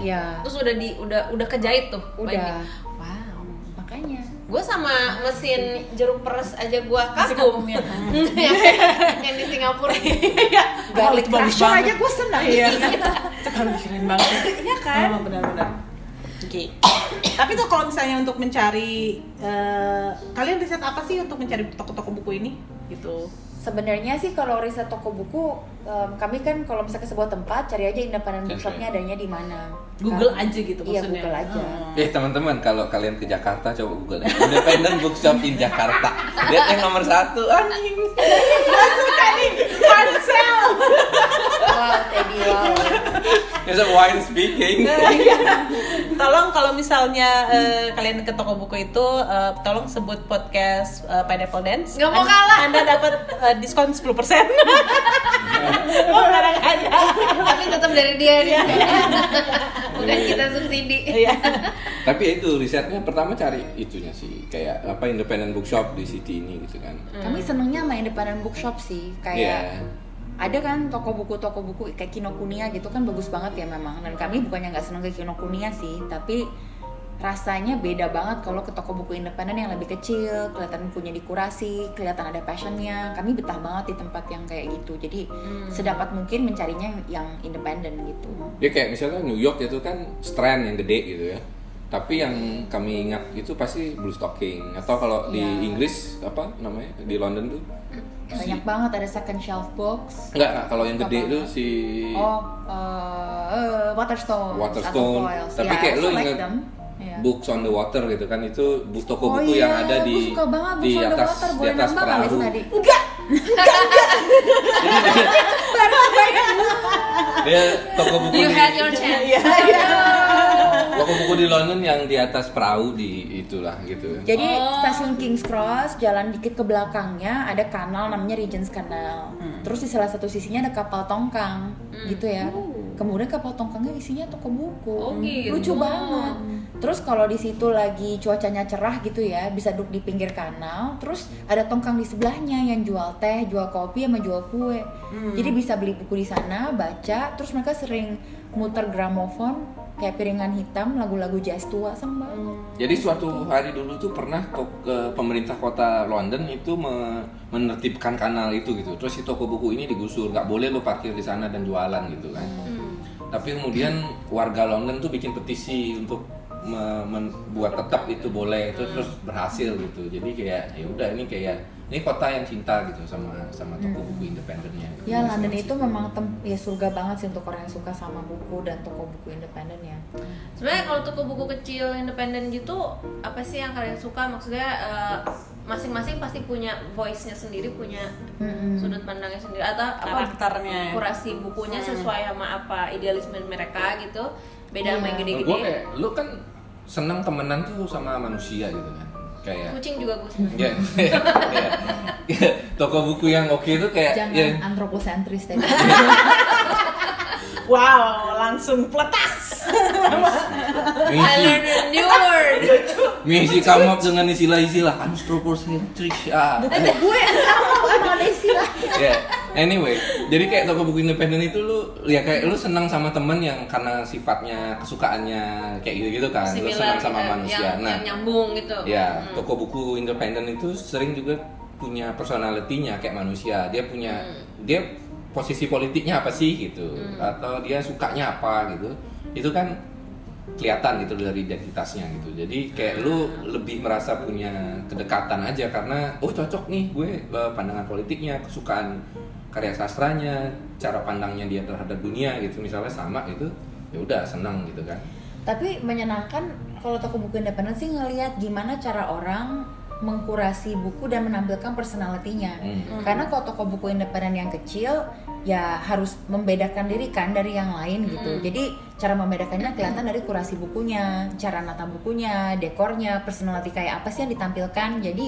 Speaker 4: iya
Speaker 1: Terus udah di udah udah kejahit tuh.
Speaker 4: udah
Speaker 1: baiknya.
Speaker 4: wow makanya
Speaker 1: Gue sama mesin jeruk peres aja gue
Speaker 2: Masih
Speaker 1: kagum.
Speaker 2: kagumnya.
Speaker 1: <laughs> yang di Singapura.
Speaker 4: garlic
Speaker 2: itu Iya. bagus
Speaker 4: crusher
Speaker 2: banget.
Speaker 4: aja gue senang
Speaker 2: <laughs> Iya. Itu kan keren banget. Iya kan? benar-benar. Oke. Tapi tuh kalau misalnya untuk mencari eh, kalian riset apa sih untuk mencari toko-toko buku ini? Gitu.
Speaker 4: Sebenarnya sih kalau riset toko buku, em, kami kan kalau misalnya ke sebuah tempat cari aja independen
Speaker 3: Cari.
Speaker 4: bookshopnya adanya di mana.
Speaker 2: Google
Speaker 4: Kan-
Speaker 2: aja gitu
Speaker 4: Iya
Speaker 2: maksudnya.
Speaker 4: Google aja.
Speaker 3: Eh teman-teman kalau kalian ke Jakarta coba Google ya. Independent Bookshop in Jakarta. Lihat yang nomor satu anjing.
Speaker 2: Pansel.
Speaker 4: wow Teddy wow
Speaker 3: It's a wine speaking.
Speaker 2: tolong kalau misalnya eh, kalian ke toko buku itu eh, tolong sebut podcast eh, Pineapple Dance.
Speaker 1: Nggak mau
Speaker 2: An-
Speaker 1: kalah.
Speaker 2: Anda dapat eh, diskon 10%. <laughs> oh, barang Anda.
Speaker 1: tapi tetap dari dia nih bukan kita subsidi
Speaker 2: Iya.
Speaker 3: Tapi ya itu risetnya pertama cari itunya sih kayak apa independent bookshop di city ini gitu kan.
Speaker 4: kami senengnya sama independent bookshop sih kayak
Speaker 3: Iya.
Speaker 4: ada kan toko buku toko buku kayak Kinokuniya gitu kan bagus banget ya memang dan kami bukannya nggak seneng ke Kinokuniya sih tapi rasanya beda banget kalau ke toko buku independen yang lebih kecil kelihatan punya dikurasi kelihatan ada passionnya kami betah banget di tempat yang kayak gitu jadi
Speaker 3: Hmm.
Speaker 4: sedapat mungkin mencarinya yang- yang independen gitu
Speaker 3: Ya kayak misalnya New York itu kan strand yang gede gitu ya. Tapi yang kami ingat itu pasti blue stocking atau kalau di
Speaker 4: Iya.
Speaker 3: Inggris apa namanya di London tuh si-
Speaker 4: banyak banget ada second shelf box
Speaker 3: Enggak, enggak. kalau yang gede
Speaker 4: Apa?
Speaker 3: tuh si
Speaker 4: oh eh, Waterstone
Speaker 3: Waterstone.
Speaker 4: Atau Foils.
Speaker 3: Tapi
Speaker 4: Ya,
Speaker 3: kayak
Speaker 4: I
Speaker 3: lu
Speaker 4: like
Speaker 3: ingat
Speaker 4: them. Iya.
Speaker 3: Books on the Water gitu kan itu bu- toko
Speaker 4: Oh
Speaker 3: buku yang
Speaker 4: iya,
Speaker 3: ada
Speaker 4: gua
Speaker 3: di
Speaker 4: suka banget
Speaker 3: di
Speaker 4: Books on the
Speaker 3: atas
Speaker 4: Water.
Speaker 3: di
Speaker 4: Boleh
Speaker 3: atas
Speaker 4: nambah nggak, Miss
Speaker 3: perahu.
Speaker 4: Nadi?
Speaker 3: Dia Iya, toko buku
Speaker 1: you
Speaker 3: di
Speaker 1: had your chance
Speaker 2: Iya.
Speaker 3: toko buku di London yang di atas perahu di itulah gitu.
Speaker 4: Jadi
Speaker 1: Oh.
Speaker 4: stasiun Kings Cross jalan dikit ke belakangnya ada kanal namanya Regent's Canal.
Speaker 1: Hmm.
Speaker 4: Terus di salah satu sisinya ada kapal tongkang gitu ya. Kemudian kapal tongkangnya isinya toko buku.
Speaker 1: Oh, gitu.
Speaker 4: Lucu banget. Terus kalau di situ lagi cuacanya cerah gitu ya, bisa duduk di pinggir kanal. Terus ada tongkang di sebelahnya yang jual teh, jual kopi sama jual kue.
Speaker 1: Hmm.
Speaker 4: Jadi bisa beli buku di sana, baca. Terus mereka sering muter gramofon kayak piringan hitam, lagu-lagu jazz tua sama banget.
Speaker 3: Jadi suatu hari dulu tuh pernah to- ke pemerintah kota London itu me- menertibkan kanal itu gitu. Terus si toko buku ini digusur, nggak boleh lo parkir di sana dan jualan gitu kan. Tapi kemudian warga London tuh bikin petisi untuk me- membuat tetap itu boleh itu terus berhasil gitu. Jadi kayak ya udah ini kayak ini kota yang cinta gitu sama sama toko buku gitu. independennya.
Speaker 4: Ya
Speaker 3: Sama
Speaker 4: London itu
Speaker 3: situ.
Speaker 4: memang tem ya surga banget sih untuk orang yang suka sama buku dan toko buku independen ya.
Speaker 1: sebenarnya kalau toko buku kecil independen gitu apa sih yang kalian suka maksudnya eh, masing-masing pasti punya voice-nya sendiri punya
Speaker 4: Mm-mm.
Speaker 1: sudut pandangnya sendiri atau apa
Speaker 2: Karakternya.
Speaker 1: kurasi bukunya sesuai sama apa idealisme mereka gitu beda sama yang
Speaker 3: Kalau
Speaker 1: gede-gede
Speaker 3: gua kayak lu kan seneng temenan tuh sama manusia gitu kan. Kayak
Speaker 1: kucing juga
Speaker 3: <laughs>
Speaker 1: gue seneng
Speaker 3: Ya, ya. Ya, toko buku yang oke itu kayak
Speaker 4: Jangan
Speaker 3: ya,
Speaker 4: antroposentris
Speaker 3: <laughs>
Speaker 4: tadi.
Speaker 2: Wow, langsung pletas.
Speaker 1: I
Speaker 3: misi,
Speaker 1: learned a new
Speaker 3: Iya.
Speaker 1: word
Speaker 3: misi come up dengan istilah-istilah anthropocentric ah.
Speaker 4: gue yang sama Malaysia lagi.
Speaker 3: Ya, anyway, jadi kayak toko buku independen itu lu ya kayak lu senang sama temen yang karena sifatnya kesukaannya kayak gitu-gitu kan. Lu senang sama
Speaker 1: gitu,
Speaker 3: manusia.
Speaker 1: yang,
Speaker 3: nah,
Speaker 1: yang nyambung gitu
Speaker 3: Ya, toko buku independen itu sering juga punya personalitinya kayak manusia. Dia punya dia posisi politiknya apa sih gitu atau dia sukanya apa gitu. Itu kan kelihatan gitu dari identitasnya gitu. Jadi kayak lu lebih merasa punya kedekatan aja karena oh cocok nih gue eh, pandangan politiknya, kesukaan karya sastranya, cara pandangnya dia terhadap dunia gitu misalnya sama gitu. Ya udah senang gitu kan.
Speaker 4: Tapi menyenangkan kalau toko buku independen sih ngelihat gimana cara orang mengkurasi buku dan menampilkan personalitinya.
Speaker 3: Hmm.
Speaker 4: Karena kalau toko buku independen yang kecil ya harus membedakan diri kan dari yang lain
Speaker 3: Hmm.
Speaker 4: gitu. Jadi cara membedakannya kelihatan dari kurasi bukunya, cara nata bukunya, dekornya, personality kayak apa sih yang ditampilkan. Jadi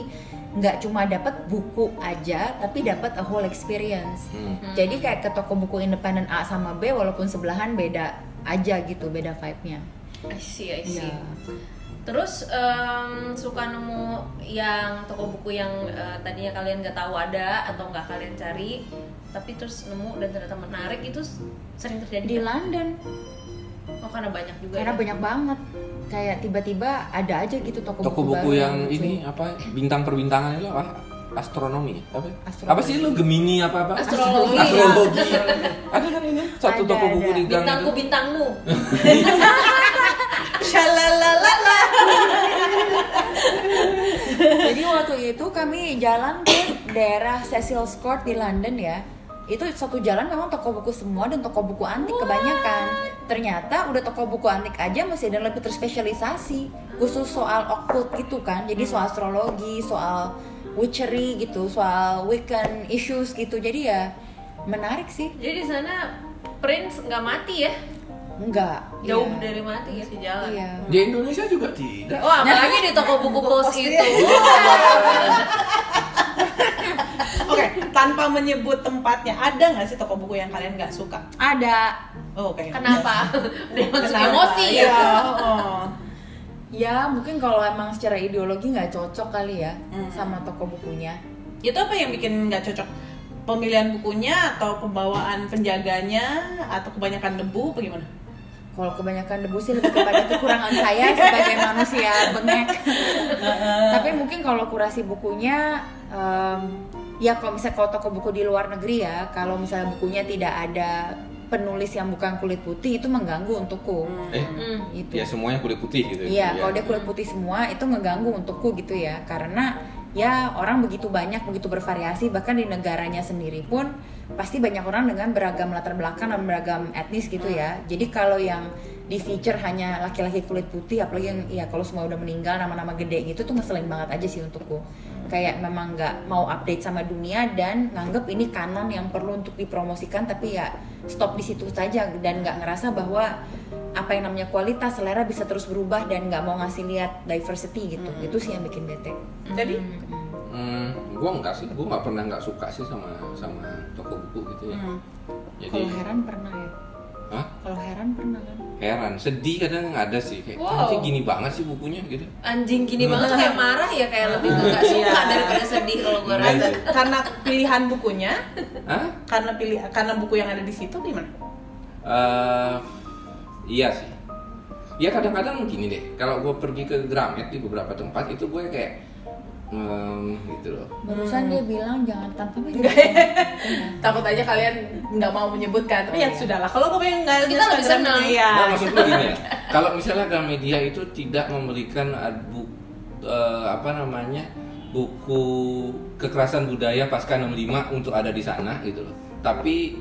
Speaker 4: nggak cuma dapat buku aja, tapi dapat a whole experience.
Speaker 3: Hmm.
Speaker 4: Jadi kayak ke toko buku independen A sama B walaupun sebelahan beda aja gitu, beda vibe-nya.
Speaker 1: I see, I see.
Speaker 4: Iya.
Speaker 1: Terus em, suka nemu yang toko buku yang eh, tadinya kalian nggak tahu ada atau nggak kalian cari, tapi terus nemu dan ternyata menarik itu s- sering
Speaker 4: Di
Speaker 1: terjadi. kan?
Speaker 4: London
Speaker 1: Oh karena banyak juga.
Speaker 4: karena
Speaker 1: ya?
Speaker 4: banyak banget kayak tiba-tiba ada aja gitu toko,
Speaker 3: toko
Speaker 4: buku,
Speaker 3: buku
Speaker 4: baru
Speaker 3: yang
Speaker 4: lucu.
Speaker 3: ini apa bintang perbintangan itu apa astronomi apa
Speaker 4: Astronomi.
Speaker 3: apa sih lu gemini apa apa
Speaker 1: Astrologi.
Speaker 3: astrologi ada kan ini satu
Speaker 4: Ada,
Speaker 3: toko buku
Speaker 4: ada.
Speaker 3: di gang
Speaker 1: bintangku
Speaker 3: itu
Speaker 1: bintangmu.
Speaker 2: Shalalalala.
Speaker 4: <laughs> jadi waktu itu kami jalan ke daerah Cecil's Court di London ya itu satu jalan memang toko buku semua dan toko buku antik kebanyakan ternyata udah toko buku antik aja masih ada yang lebih terspesialisasi khusus soal occult gitu kan jadi
Speaker 1: Hmm.
Speaker 4: soal astrologi soal witchery gitu soal wiccan issues gitu jadi ya menarik sih
Speaker 1: Jadi di sana Prince nggak mati ya?
Speaker 4: enggak
Speaker 1: Jauh
Speaker 4: iya.
Speaker 1: dari mati ya si jalan.
Speaker 4: iya
Speaker 3: Di Indonesia juga tidak.
Speaker 1: Oh, apalagi di toko
Speaker 4: <laughs>
Speaker 1: buku pos itu.
Speaker 2: Oke, tanpa menyebut tempatnya, ada nggak sih toko buku yang kalian nggak suka?
Speaker 4: ada
Speaker 2: Oh, Oke.
Speaker 1: Kenapa? <laughs> Dia langsung
Speaker 2: Kenapa?
Speaker 1: emosi
Speaker 2: Iya,
Speaker 1: ya.
Speaker 2: oh.
Speaker 4: ya mungkin kalau emang secara ideologi nggak cocok kali ya
Speaker 2: Hmm.
Speaker 4: sama toko bukunya
Speaker 2: Itu apa yang bikin nggak cocok? Pemilihan bukunya atau pembawaan penjaganya atau kebanyakan debu apa gimana?
Speaker 1: Hmm.
Speaker 4: kalau kebanyakan debu sih lebih kepada kekurangan saya sebagai manusia bengek. Tapi mungkin kalau kurasi bukunya, em, ya kalau misalnya kalau toko buku di luar negeri ya, kalau misalnya bukunya tidak ada penulis yang bukan kulit putih itu mengganggu untukku.
Speaker 3: Eh,
Speaker 1: Hmm.
Speaker 4: Itu.
Speaker 3: ya semuanya kulit putih gitu.
Speaker 4: Iya, kalau dia kulit putih semua itu ngeganggu untukku gitu ya. Karena ya orang begitu banyak, begitu bervariasi, bahkan di negaranya sendiri pun pasti banyak orang dengan beragam latar belakang dan beragam etnis gitu ya.
Speaker 3: Hmm.
Speaker 4: Jadi kalau yang di feature hanya laki-laki kulit putih, apalagi yang ya kalau semua udah meninggal nama-nama gede gitu tuh ngeselin banget aja sih untukku. Kayak memang nggak mau update sama dunia dan nganggep ini kanon yang perlu untuk dipromosikan, tapi ya stop di situ saja dan nggak ngerasa bahwa apa yang namanya kualitas selera bisa terus berubah dan nggak mau ngasih lihat diversity gitu itu sih yang bikin bete
Speaker 2: Jadi
Speaker 3: Hmm, gua enggak sih, gua nggak pernah nggak suka sih sama sama toko buku gitu ya. Jadi,
Speaker 4: Hmm. kalau heran pernah ya
Speaker 3: Hah?
Speaker 4: kalau heran pernah kan
Speaker 3: heran, sedih kadang ada sih kayak
Speaker 1: Wow.
Speaker 3: "Anjing, gini banget sih bukunya gitu.
Speaker 1: Anjing gini banget kayak marah ya kayak lebih ke nggak suka daripada sedih kalau gue rasa.
Speaker 3: Iya.
Speaker 2: karena pilihan bukunya,
Speaker 3: Hah?
Speaker 2: karena pilih karena buku yang ada di situ gimana?
Speaker 3: Eh, iya sih. Ya kadang-kadang gini deh, kalau gue pergi ke Gramet di beberapa tempat itu gue kayak hmm, gitu loh.
Speaker 4: barusan dia bilang jangan tampangnya
Speaker 2: Takut aja kalian nggak mau menyebutkan, tapi ya sudahlah. Kalau gue pengen
Speaker 1: Kita
Speaker 2: nggak
Speaker 1: lebih
Speaker 2: Instagram,
Speaker 1: senang.
Speaker 2: Iya.
Speaker 3: Nah, maksud gue gini ya, kalau misalnya Gramedia itu tidak memberikan ad- bu, eh, apa namanya buku kekerasan budaya pasca 65 untuk ada di sana gitu loh. Tapi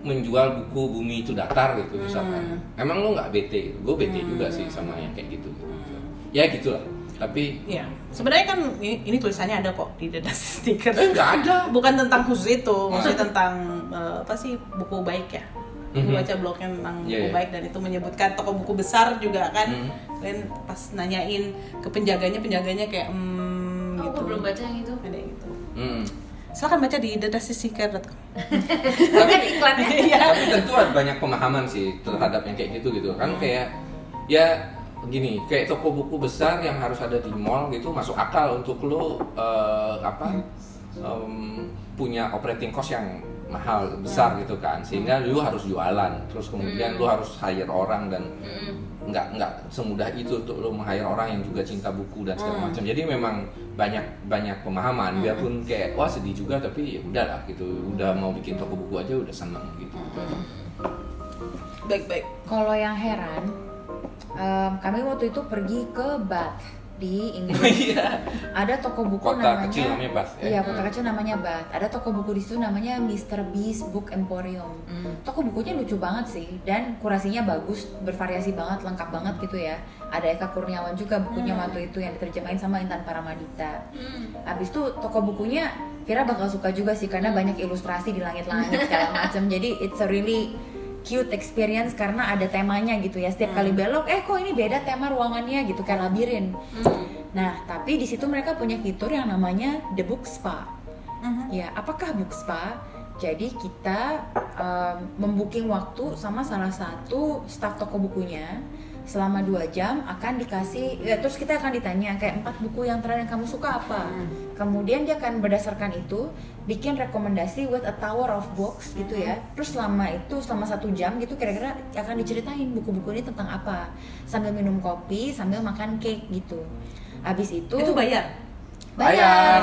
Speaker 3: menjual buku bumi itu datar gitu misalkan. Emang lo nggak bete? Gue bete juga sih sama yang kayak gitu. gitu. Ya gitulah. Tapi
Speaker 2: Iya. Sebenarnya kan ini, ini tulisannya ada kok di dedas <laughs> stiker.
Speaker 3: eh nggak ada.
Speaker 2: Bukan tentang khusus itu,
Speaker 3: Hmm.
Speaker 2: maksudnya tentang eh, apa sih buku baik ya.
Speaker 3: Mhm.
Speaker 2: Gue baca blognya tentang
Speaker 3: Iya,
Speaker 2: buku
Speaker 3: iya.
Speaker 2: baik dan itu menyebutkan toko buku besar juga kan.
Speaker 3: Mhm.
Speaker 2: Kalian pas nanyain ke penjaganya, penjaganya kayak hmm,
Speaker 1: Oh,
Speaker 2: gitu.
Speaker 1: gue belum baca yang
Speaker 2: <laughs>
Speaker 1: itu.
Speaker 2: Ada yang gitu.
Speaker 3: Mm.
Speaker 2: Silakan baca di dedasstiker.com.
Speaker 3: tapi,
Speaker 1: Kan iklannya.
Speaker 3: tapi tentu ada banyak pemahaman sih terhadap yang kayak gitu gitu kan kayak ya gini kayak toko buku besar yang harus ada di mall gitu masuk akal untuk lo eh, apa em, punya operating cost yang mahal besar gitu kan sehingga lo harus jualan terus kemudian lo harus hire orang dan nggak nggak semudah itu untuk lo meng-hire orang yang juga cinta buku dan
Speaker 4: Hmm.
Speaker 3: segala macam jadi memang banyak banyak pemahaman biarpun kayak wah sedih juga tapi ya udahlah gitu udah mau bikin toko buku aja udah seneng gitu
Speaker 4: Hmm.
Speaker 2: Baik-baik.
Speaker 4: kalau yang heran em, kami waktu itu pergi ke Bath di Inggris
Speaker 3: <laughs> iya
Speaker 4: ada toko buku
Speaker 3: Kota
Speaker 4: namanya
Speaker 3: kecil namanya Bath, ya?
Speaker 4: iya kota kecil namanya Bath ada toko buku di situ namanya Mr Beast Book Emporium
Speaker 3: Hmm.
Speaker 4: toko bukunya lucu banget sih dan kurasinya bagus bervariasi banget lengkap banget gitu ya ada Eka Kurniawan juga bukunya
Speaker 3: Hmm.
Speaker 4: waktu itu yang diterjemahin sama Intan Paramadita
Speaker 1: Hmm,
Speaker 4: Abis itu toko bukunya Kira bakal suka juga sih karena banyak ilustrasi di langit-langit segala macam. Jadi it's a really cute experience karena ada temanya gitu ya. Setiap kali belok, eh kok ini beda tema ruangannya gitu kayak labirin.
Speaker 1: hmm.
Speaker 4: Nah, tapi di situ mereka punya fitur yang namanya the book spa. Ya, apakah book spa? Jadi kita um, membooking waktu sama salah satu staff toko bukunya selama dua jam akan dikasih ya, terus kita akan ditanya kayak empat buku yang terakhir yang kamu suka apa kemudian dia akan berdasarkan itu bikin rekomendasi with a tower of books gitu ya terus selama itu selama satu jam gitu kira-kira akan diceritain buku-buku ini tentang apa sambil minum kopi sambil makan cake gitu abis itu
Speaker 2: Itu bayar.
Speaker 3: Bayar.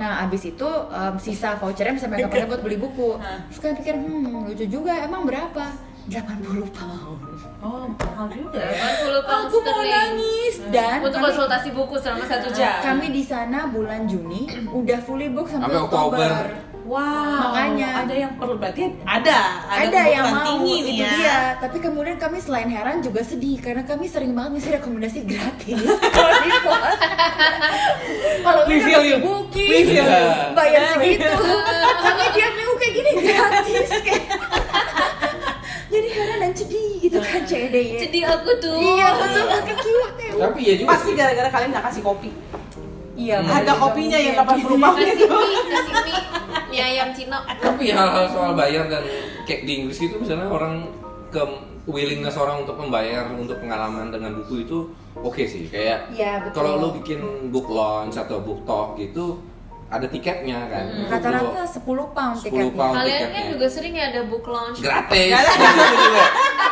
Speaker 4: Nah, abis itu em, sisa vouchernya bisa mereka pakai buat beli buku. Terus kan pikir, hmm lucu juga, emang berapa? 80 pound.
Speaker 2: Oh, mahal juga. ya.
Speaker 1: 80 pound
Speaker 4: Aku mau
Speaker 1: sterling.
Speaker 4: nangis dan
Speaker 1: Hmm. Untuk
Speaker 4: kami,
Speaker 1: konsultasi buku selama satu jam.
Speaker 4: kami di sana bulan Juni udah fully book sampai
Speaker 3: Sampai
Speaker 4: Oktober.
Speaker 3: Oktober.
Speaker 2: Wow,
Speaker 4: Makanya.
Speaker 2: ada yang perlu berarti ya. ada
Speaker 4: Ada,
Speaker 2: kebutuhan
Speaker 4: yang mau
Speaker 2: tinggi nih
Speaker 4: itu
Speaker 2: ya.
Speaker 4: dia. Tapi kemudian kami selain heran juga sedih karena kami sering banget ngisi rekomendasi
Speaker 2: <laughs>
Speaker 4: gratis. Kalau ini
Speaker 2: We feel you.
Speaker 4: booking,
Speaker 2: We feel you.
Speaker 4: bayar segitu. kami diam minggu kayak ini gratis kayak jadi heran dan sedih gitu
Speaker 2: Nah.
Speaker 4: kan CD ya
Speaker 1: Jadi aku tuh.
Speaker 4: iya betul pakai kiwak ya
Speaker 3: Tapi ya juga.
Speaker 2: Pasti gara-gara kalian nggak kasih kopi.
Speaker 4: iya
Speaker 3: Hmm.
Speaker 4: makanya
Speaker 2: Harga kopinya yang 80 pound
Speaker 1: Kasih
Speaker 2: itu.
Speaker 1: mie, kasih mie, mie ayam Cino.
Speaker 3: tapi ya hal-hal soal bayar dan kayak di Inggris itu misalnya orang ke willingness orang untuk membayar untuk pengalaman dengan buku itu oke sih kayak
Speaker 4: Iya, betul.
Speaker 3: kalau lo bikin book launch atau book talk gitu ada tiketnya kan Untuk lo-
Speaker 4: Hmm. rata-rata 10 pound ya
Speaker 3: 10
Speaker 4: tiketnya
Speaker 3: pound.
Speaker 1: Kalian kan
Speaker 3: tiketnya.
Speaker 1: juga sering ya ada book launch.
Speaker 3: gratis Gitu juga.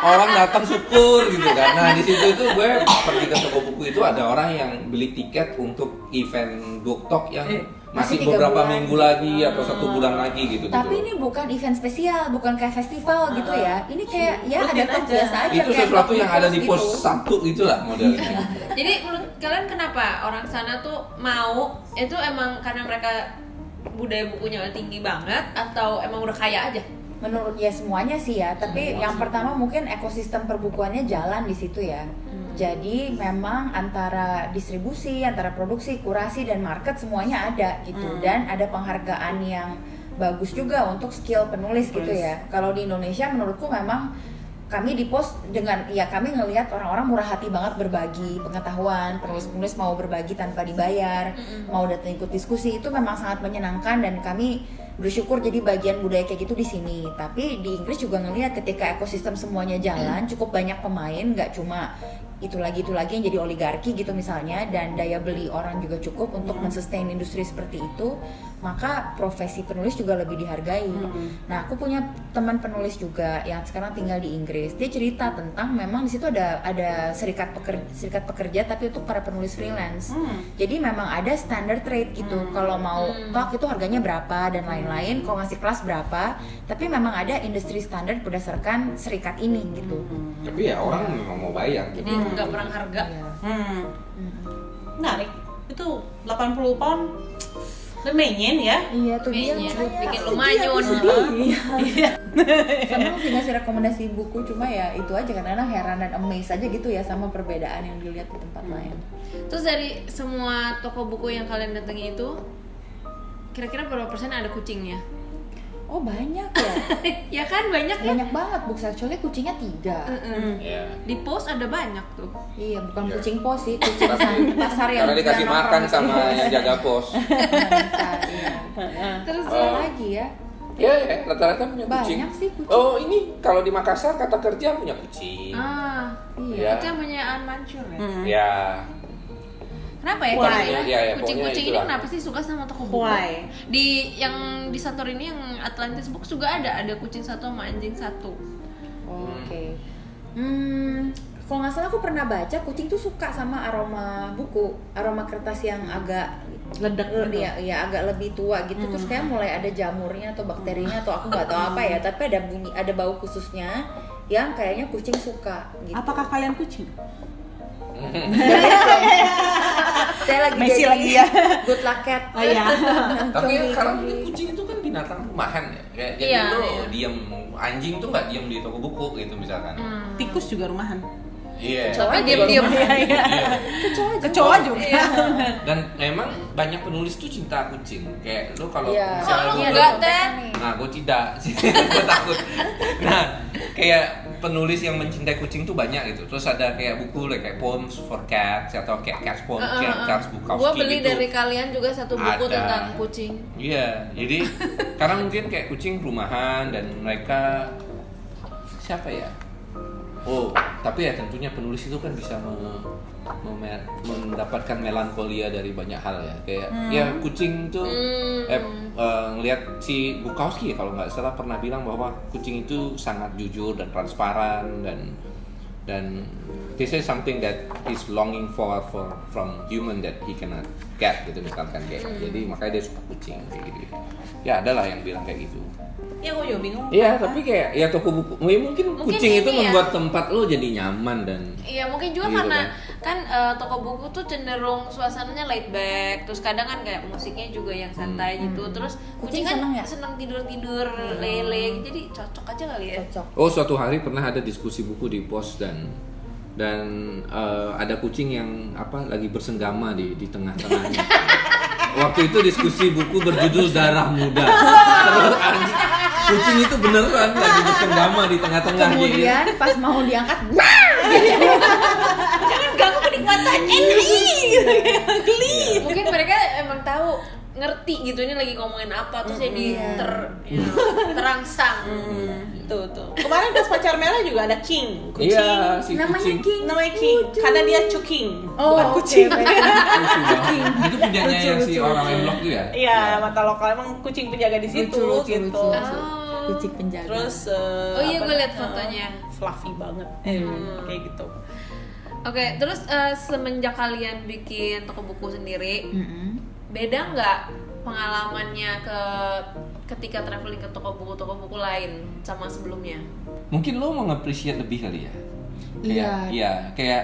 Speaker 3: orang datang syukur gitu kan nah di situ itu gue pergi ke toko buku itu ada orang yang beli tiket untuk event book talk yang
Speaker 2: Eh,
Speaker 4: masih
Speaker 3: masih
Speaker 4: tiga
Speaker 3: beberapa
Speaker 4: bulan. Oh.
Speaker 3: minggu lagi atau satu bulan lagi gitu
Speaker 4: tapi ini bukan event spesial bukan kayak festival gitu ya ini kayak ya ada
Speaker 2: Rutin Ah, iya.
Speaker 4: top
Speaker 2: aja.
Speaker 4: biasa aja
Speaker 3: itu
Speaker 4: kayak
Speaker 3: sesuatu yang ada di
Speaker 4: gitu. Iya.
Speaker 3: pos satu itulah modelnya
Speaker 1: Jadi menurut kalian kenapa orang sana tuh mau itu emang karena mereka budaya bukunya tinggi banget atau emang udah kaya aja?
Speaker 4: menurut ya semuanya sih ya tapi
Speaker 3: Semua
Speaker 4: yang
Speaker 3: sih.
Speaker 4: pertama mungkin ekosistem perbukuannya jalan di situ ya
Speaker 2: Hmm.
Speaker 4: jadi memang antara distribusi antara produksi kurasi dan market semuanya ada gitu
Speaker 2: Hmm.
Speaker 4: dan ada penghargaan yang bagus juga untuk skill penulis gitu
Speaker 2: Penulis.
Speaker 4: ya kalau di Indonesia menurutku memang kami di pos dengan ya kami ngelihat orang-orang murah hati banget berbagi pengetahuan penulis-penulis mau berbagi tanpa dibayar
Speaker 1: Mm-mm.
Speaker 4: mau datang ikut diskusi itu memang sangat menyenangkan dan kami bersyukur jadi bagian budaya kayak gitu di sini. Tapi di Inggris juga ngelihat ketika ekosistem semuanya jalan, cukup banyak pemain, nggak cuma itu lagi itu lagi yang jadi oligarki gitu misalnya dan daya beli orang juga cukup untuk
Speaker 1: Hmm.
Speaker 4: mensustain industri seperti itu, maka profesi penulis juga lebih dihargai.
Speaker 1: Hmm.
Speaker 4: Nah, aku punya teman penulis juga yang sekarang tinggal di Inggris. Dia cerita tentang memang di situ ada ada serikat pekerja, serikat pekerja tapi untuk para penulis freelance.
Speaker 2: Hmm.
Speaker 4: Jadi memang ada standar trade gitu. Kalau mau
Speaker 1: Hmm.
Speaker 4: talk itu harganya berapa dan lain-lain, kalau ngasih kelas berapa. Tapi memang ada industri standar berdasarkan serikat ini gitu.
Speaker 3: tapi ya orang memang mau bayar gitu.
Speaker 1: Jadi
Speaker 2: Hmm.
Speaker 1: Hmm. nggak perang harga.
Speaker 4: Iya.
Speaker 2: Hmm.
Speaker 4: Mm.
Speaker 2: Menarik. Itu 80 pound lumayan ya.
Speaker 4: Iya tuh dia
Speaker 1: Kayaknya
Speaker 4: makanya
Speaker 1: bikin
Speaker 4: sedih,
Speaker 1: lu manyun.
Speaker 4: aku sedih. Iya. Senang sih ngasih rekomendasi buku cuma ya itu aja karena heran dan amazed aja gitu ya sama perbedaan yang dilihat di tempat lain.
Speaker 1: Terus dari semua toko buku yang kalian datangi itu kira-kira berapa persen ada kucingnya? <laughs>
Speaker 4: Oh banyak ya,
Speaker 1: ya kan banyak ya.
Speaker 4: banyak banget book actually kucingnya tiga.
Speaker 1: Mm-mm.
Speaker 3: ya
Speaker 1: Di post ada banyak tuh.
Speaker 4: Iya bukan
Speaker 3: Iya.
Speaker 4: kucing pos sih, kucing
Speaker 3: tapi
Speaker 4: pasar yang
Speaker 3: karena dikasih
Speaker 4: jarang
Speaker 3: makan
Speaker 4: nongkrong.
Speaker 3: sama yang jaga pos
Speaker 4: Pasar, <laughs> iya.
Speaker 1: Terus
Speaker 4: Apa
Speaker 3: Eh,
Speaker 4: lagi ya?
Speaker 3: ya ya rata-rata punya
Speaker 4: Banyak
Speaker 3: kucing
Speaker 4: sih kucing.
Speaker 3: oh ini kalau di Makassar kata kerja punya kucing
Speaker 1: ah itu
Speaker 4: Iya.
Speaker 1: yang punya An Mansur ya.
Speaker 2: Hmm.
Speaker 3: ya
Speaker 1: Kenapa ya
Speaker 2: Why?
Speaker 1: kira-kira
Speaker 3: Iya, iya,
Speaker 1: kucing-kucing
Speaker 3: pokoknya
Speaker 1: ini
Speaker 3: itulah.
Speaker 1: kenapa sih suka sama toko buku?
Speaker 2: Why?
Speaker 1: Di yang di Santorini yang Atlantis Books juga ada ada kucing satu sama anjing satu.
Speaker 4: Oke. Hmm, kalau nggak salah aku pernah baca kucing tuh suka sama aroma buku, aroma kertas yang agak
Speaker 2: Hmm. Ledak gitu. Hmm.
Speaker 4: ya, ya agak lebih tua gitu terus kayak mulai ada jamurnya atau bakterinya atau aku nggak tahu apa ya tapi ada bunyi ada bau khususnya yang kayaknya kucing suka gitu
Speaker 2: Apakah kalian kucing?
Speaker 4: saya lagi
Speaker 2: Messi
Speaker 4: jadi
Speaker 2: lagi ya.
Speaker 4: <laughs> good luck cat
Speaker 2: Oh
Speaker 4: <laughs>
Speaker 2: iya.
Speaker 3: tapi
Speaker 4: Jogi,
Speaker 3: karena
Speaker 4: jogi.
Speaker 3: ini kucing itu kan binatang rumahan ya kayak jadi
Speaker 1: Iya,
Speaker 3: lo
Speaker 1: iya.
Speaker 3: diem anjing tuh nggak diem di toko buku gitu misalkan
Speaker 1: Hmm.
Speaker 2: Tikus juga rumahan.
Speaker 3: iya
Speaker 1: Tapi
Speaker 4: Kecoa
Speaker 1: dia diam.
Speaker 2: iya.
Speaker 4: kecoa juga. Iya.
Speaker 2: Kecoa juga.
Speaker 3: <laughs> dan memang banyak penulis tuh cinta kucing kayak lo kalau
Speaker 1: Kalau
Speaker 4: Iya.
Speaker 3: misalnya
Speaker 1: lu
Speaker 3: lo
Speaker 4: Iya,
Speaker 1: nggak,
Speaker 4: ada
Speaker 1: Teh.
Speaker 4: contekan nih.
Speaker 3: Nah, gue tidak. <laughs> gue takut. Nah, kayak penulis yang mencintai kucing tuh banyak gitu. Terus ada kayak buku like, kayak Poems for Cats atau kayak Cats Poems,
Speaker 1: Eh,
Speaker 3: kayak Cats Bukowski
Speaker 1: Gue beli
Speaker 3: gitu.
Speaker 1: dari kalian juga satu buku
Speaker 3: Ada.
Speaker 1: tentang kucing.
Speaker 3: Iya, jadi karena mungkin kayak kucing rumahan dan mereka siapa ya? Oh, tapi ya tentunya penulis itu kan bisa me- me- mendapatkan melankolia dari banyak hal ya. Kayak ya kucing tuh
Speaker 1: Hmm.
Speaker 3: eh, eh, ngelihat si Bukowski ya, kalau nggak salah pernah bilang bahwa kucing itu sangat jujur dan transparan dan dan this is something that is longing for for from human that he cannot get gitu misalkan kayak
Speaker 1: Hmm.
Speaker 3: jadi makanya dia suka kucing kayak gitu, gitu. ya ada lah yang bilang kayak gitu
Speaker 2: Iya, gue juga bingung.
Speaker 3: Iya, tapi kayak ya toko buku, ya mungkin,
Speaker 1: Mungkin
Speaker 3: kucing itu
Speaker 1: ini ya.
Speaker 3: membuat tempat lo jadi nyaman dan
Speaker 1: Iya mungkin juga
Speaker 3: Gitu
Speaker 1: karena kan, eh, toko buku tuh cenderung suasananya laid back, terus kadang kan kayak musiknya juga yang
Speaker 3: Hmm,
Speaker 1: santai gitu, terus kucing,
Speaker 4: Kucing
Speaker 1: kan
Speaker 4: seneng ya?
Speaker 1: seneng tidur tidur lele, jadi cocok aja kali ya.
Speaker 4: cocok
Speaker 3: Oh, suatu hari pernah ada diskusi buku di pos dan dan eh, ada kucing yang apa lagi bersenggama di di tengah-tengahnya. Waktu itu diskusi buku berjudul Darah Muda. Terus anjing kucing itu beneran lagi bersenggama di tengah-tengah gitu.
Speaker 4: kemudian
Speaker 1: Iya.
Speaker 4: pas mau
Speaker 1: <laughs>
Speaker 4: diangkat wah!
Speaker 1: Jangan ganggu kenikmatan
Speaker 3: Hmm.
Speaker 1: eh,
Speaker 2: Gitu, geli
Speaker 1: Mungkin mereka emang tahu ngerti gitu ini lagi ngomongin apa terus
Speaker 4: Hmm.
Speaker 1: jadi ter you know, terangsang.
Speaker 3: Hmm.
Speaker 2: tuh tuh kemarin pas pacar merah juga ada king kucing
Speaker 3: Iya, si
Speaker 4: namanya
Speaker 3: kucing.
Speaker 4: King
Speaker 2: namanya king karena dia cuking
Speaker 4: oh
Speaker 2: bukan
Speaker 4: oke,
Speaker 2: kucing
Speaker 4: baik.
Speaker 3: Kucing. Itu punyanya
Speaker 4: Lucu,
Speaker 3: yang si
Speaker 4: lucu,
Speaker 3: orang ya?
Speaker 4: lucu.
Speaker 3: Emlok juga.
Speaker 2: Iya, mata lokal emang kucing penjaga di situ
Speaker 4: Lucu, lucu,
Speaker 2: gitu.
Speaker 4: lucu.
Speaker 1: Oh.
Speaker 4: kucing penjaga
Speaker 2: Terus eh,
Speaker 1: Oh iya,
Speaker 2: apa-
Speaker 1: gue liat
Speaker 2: eh,
Speaker 1: fotonya.
Speaker 2: fluffy banget.
Speaker 4: Hmm.
Speaker 2: Kayak gitu.
Speaker 1: Oke, terus eh, semenjak kalian bikin toko buku sendiri,
Speaker 4: Mm-mm.
Speaker 1: beda nggak pengalamannya ke ketika traveling ke toko buku toko buku lain sama sebelumnya?
Speaker 3: Mungkin lo mau nge-appreciate lebih kali ya.
Speaker 4: Iya.
Speaker 3: Kayak- Iya, kayak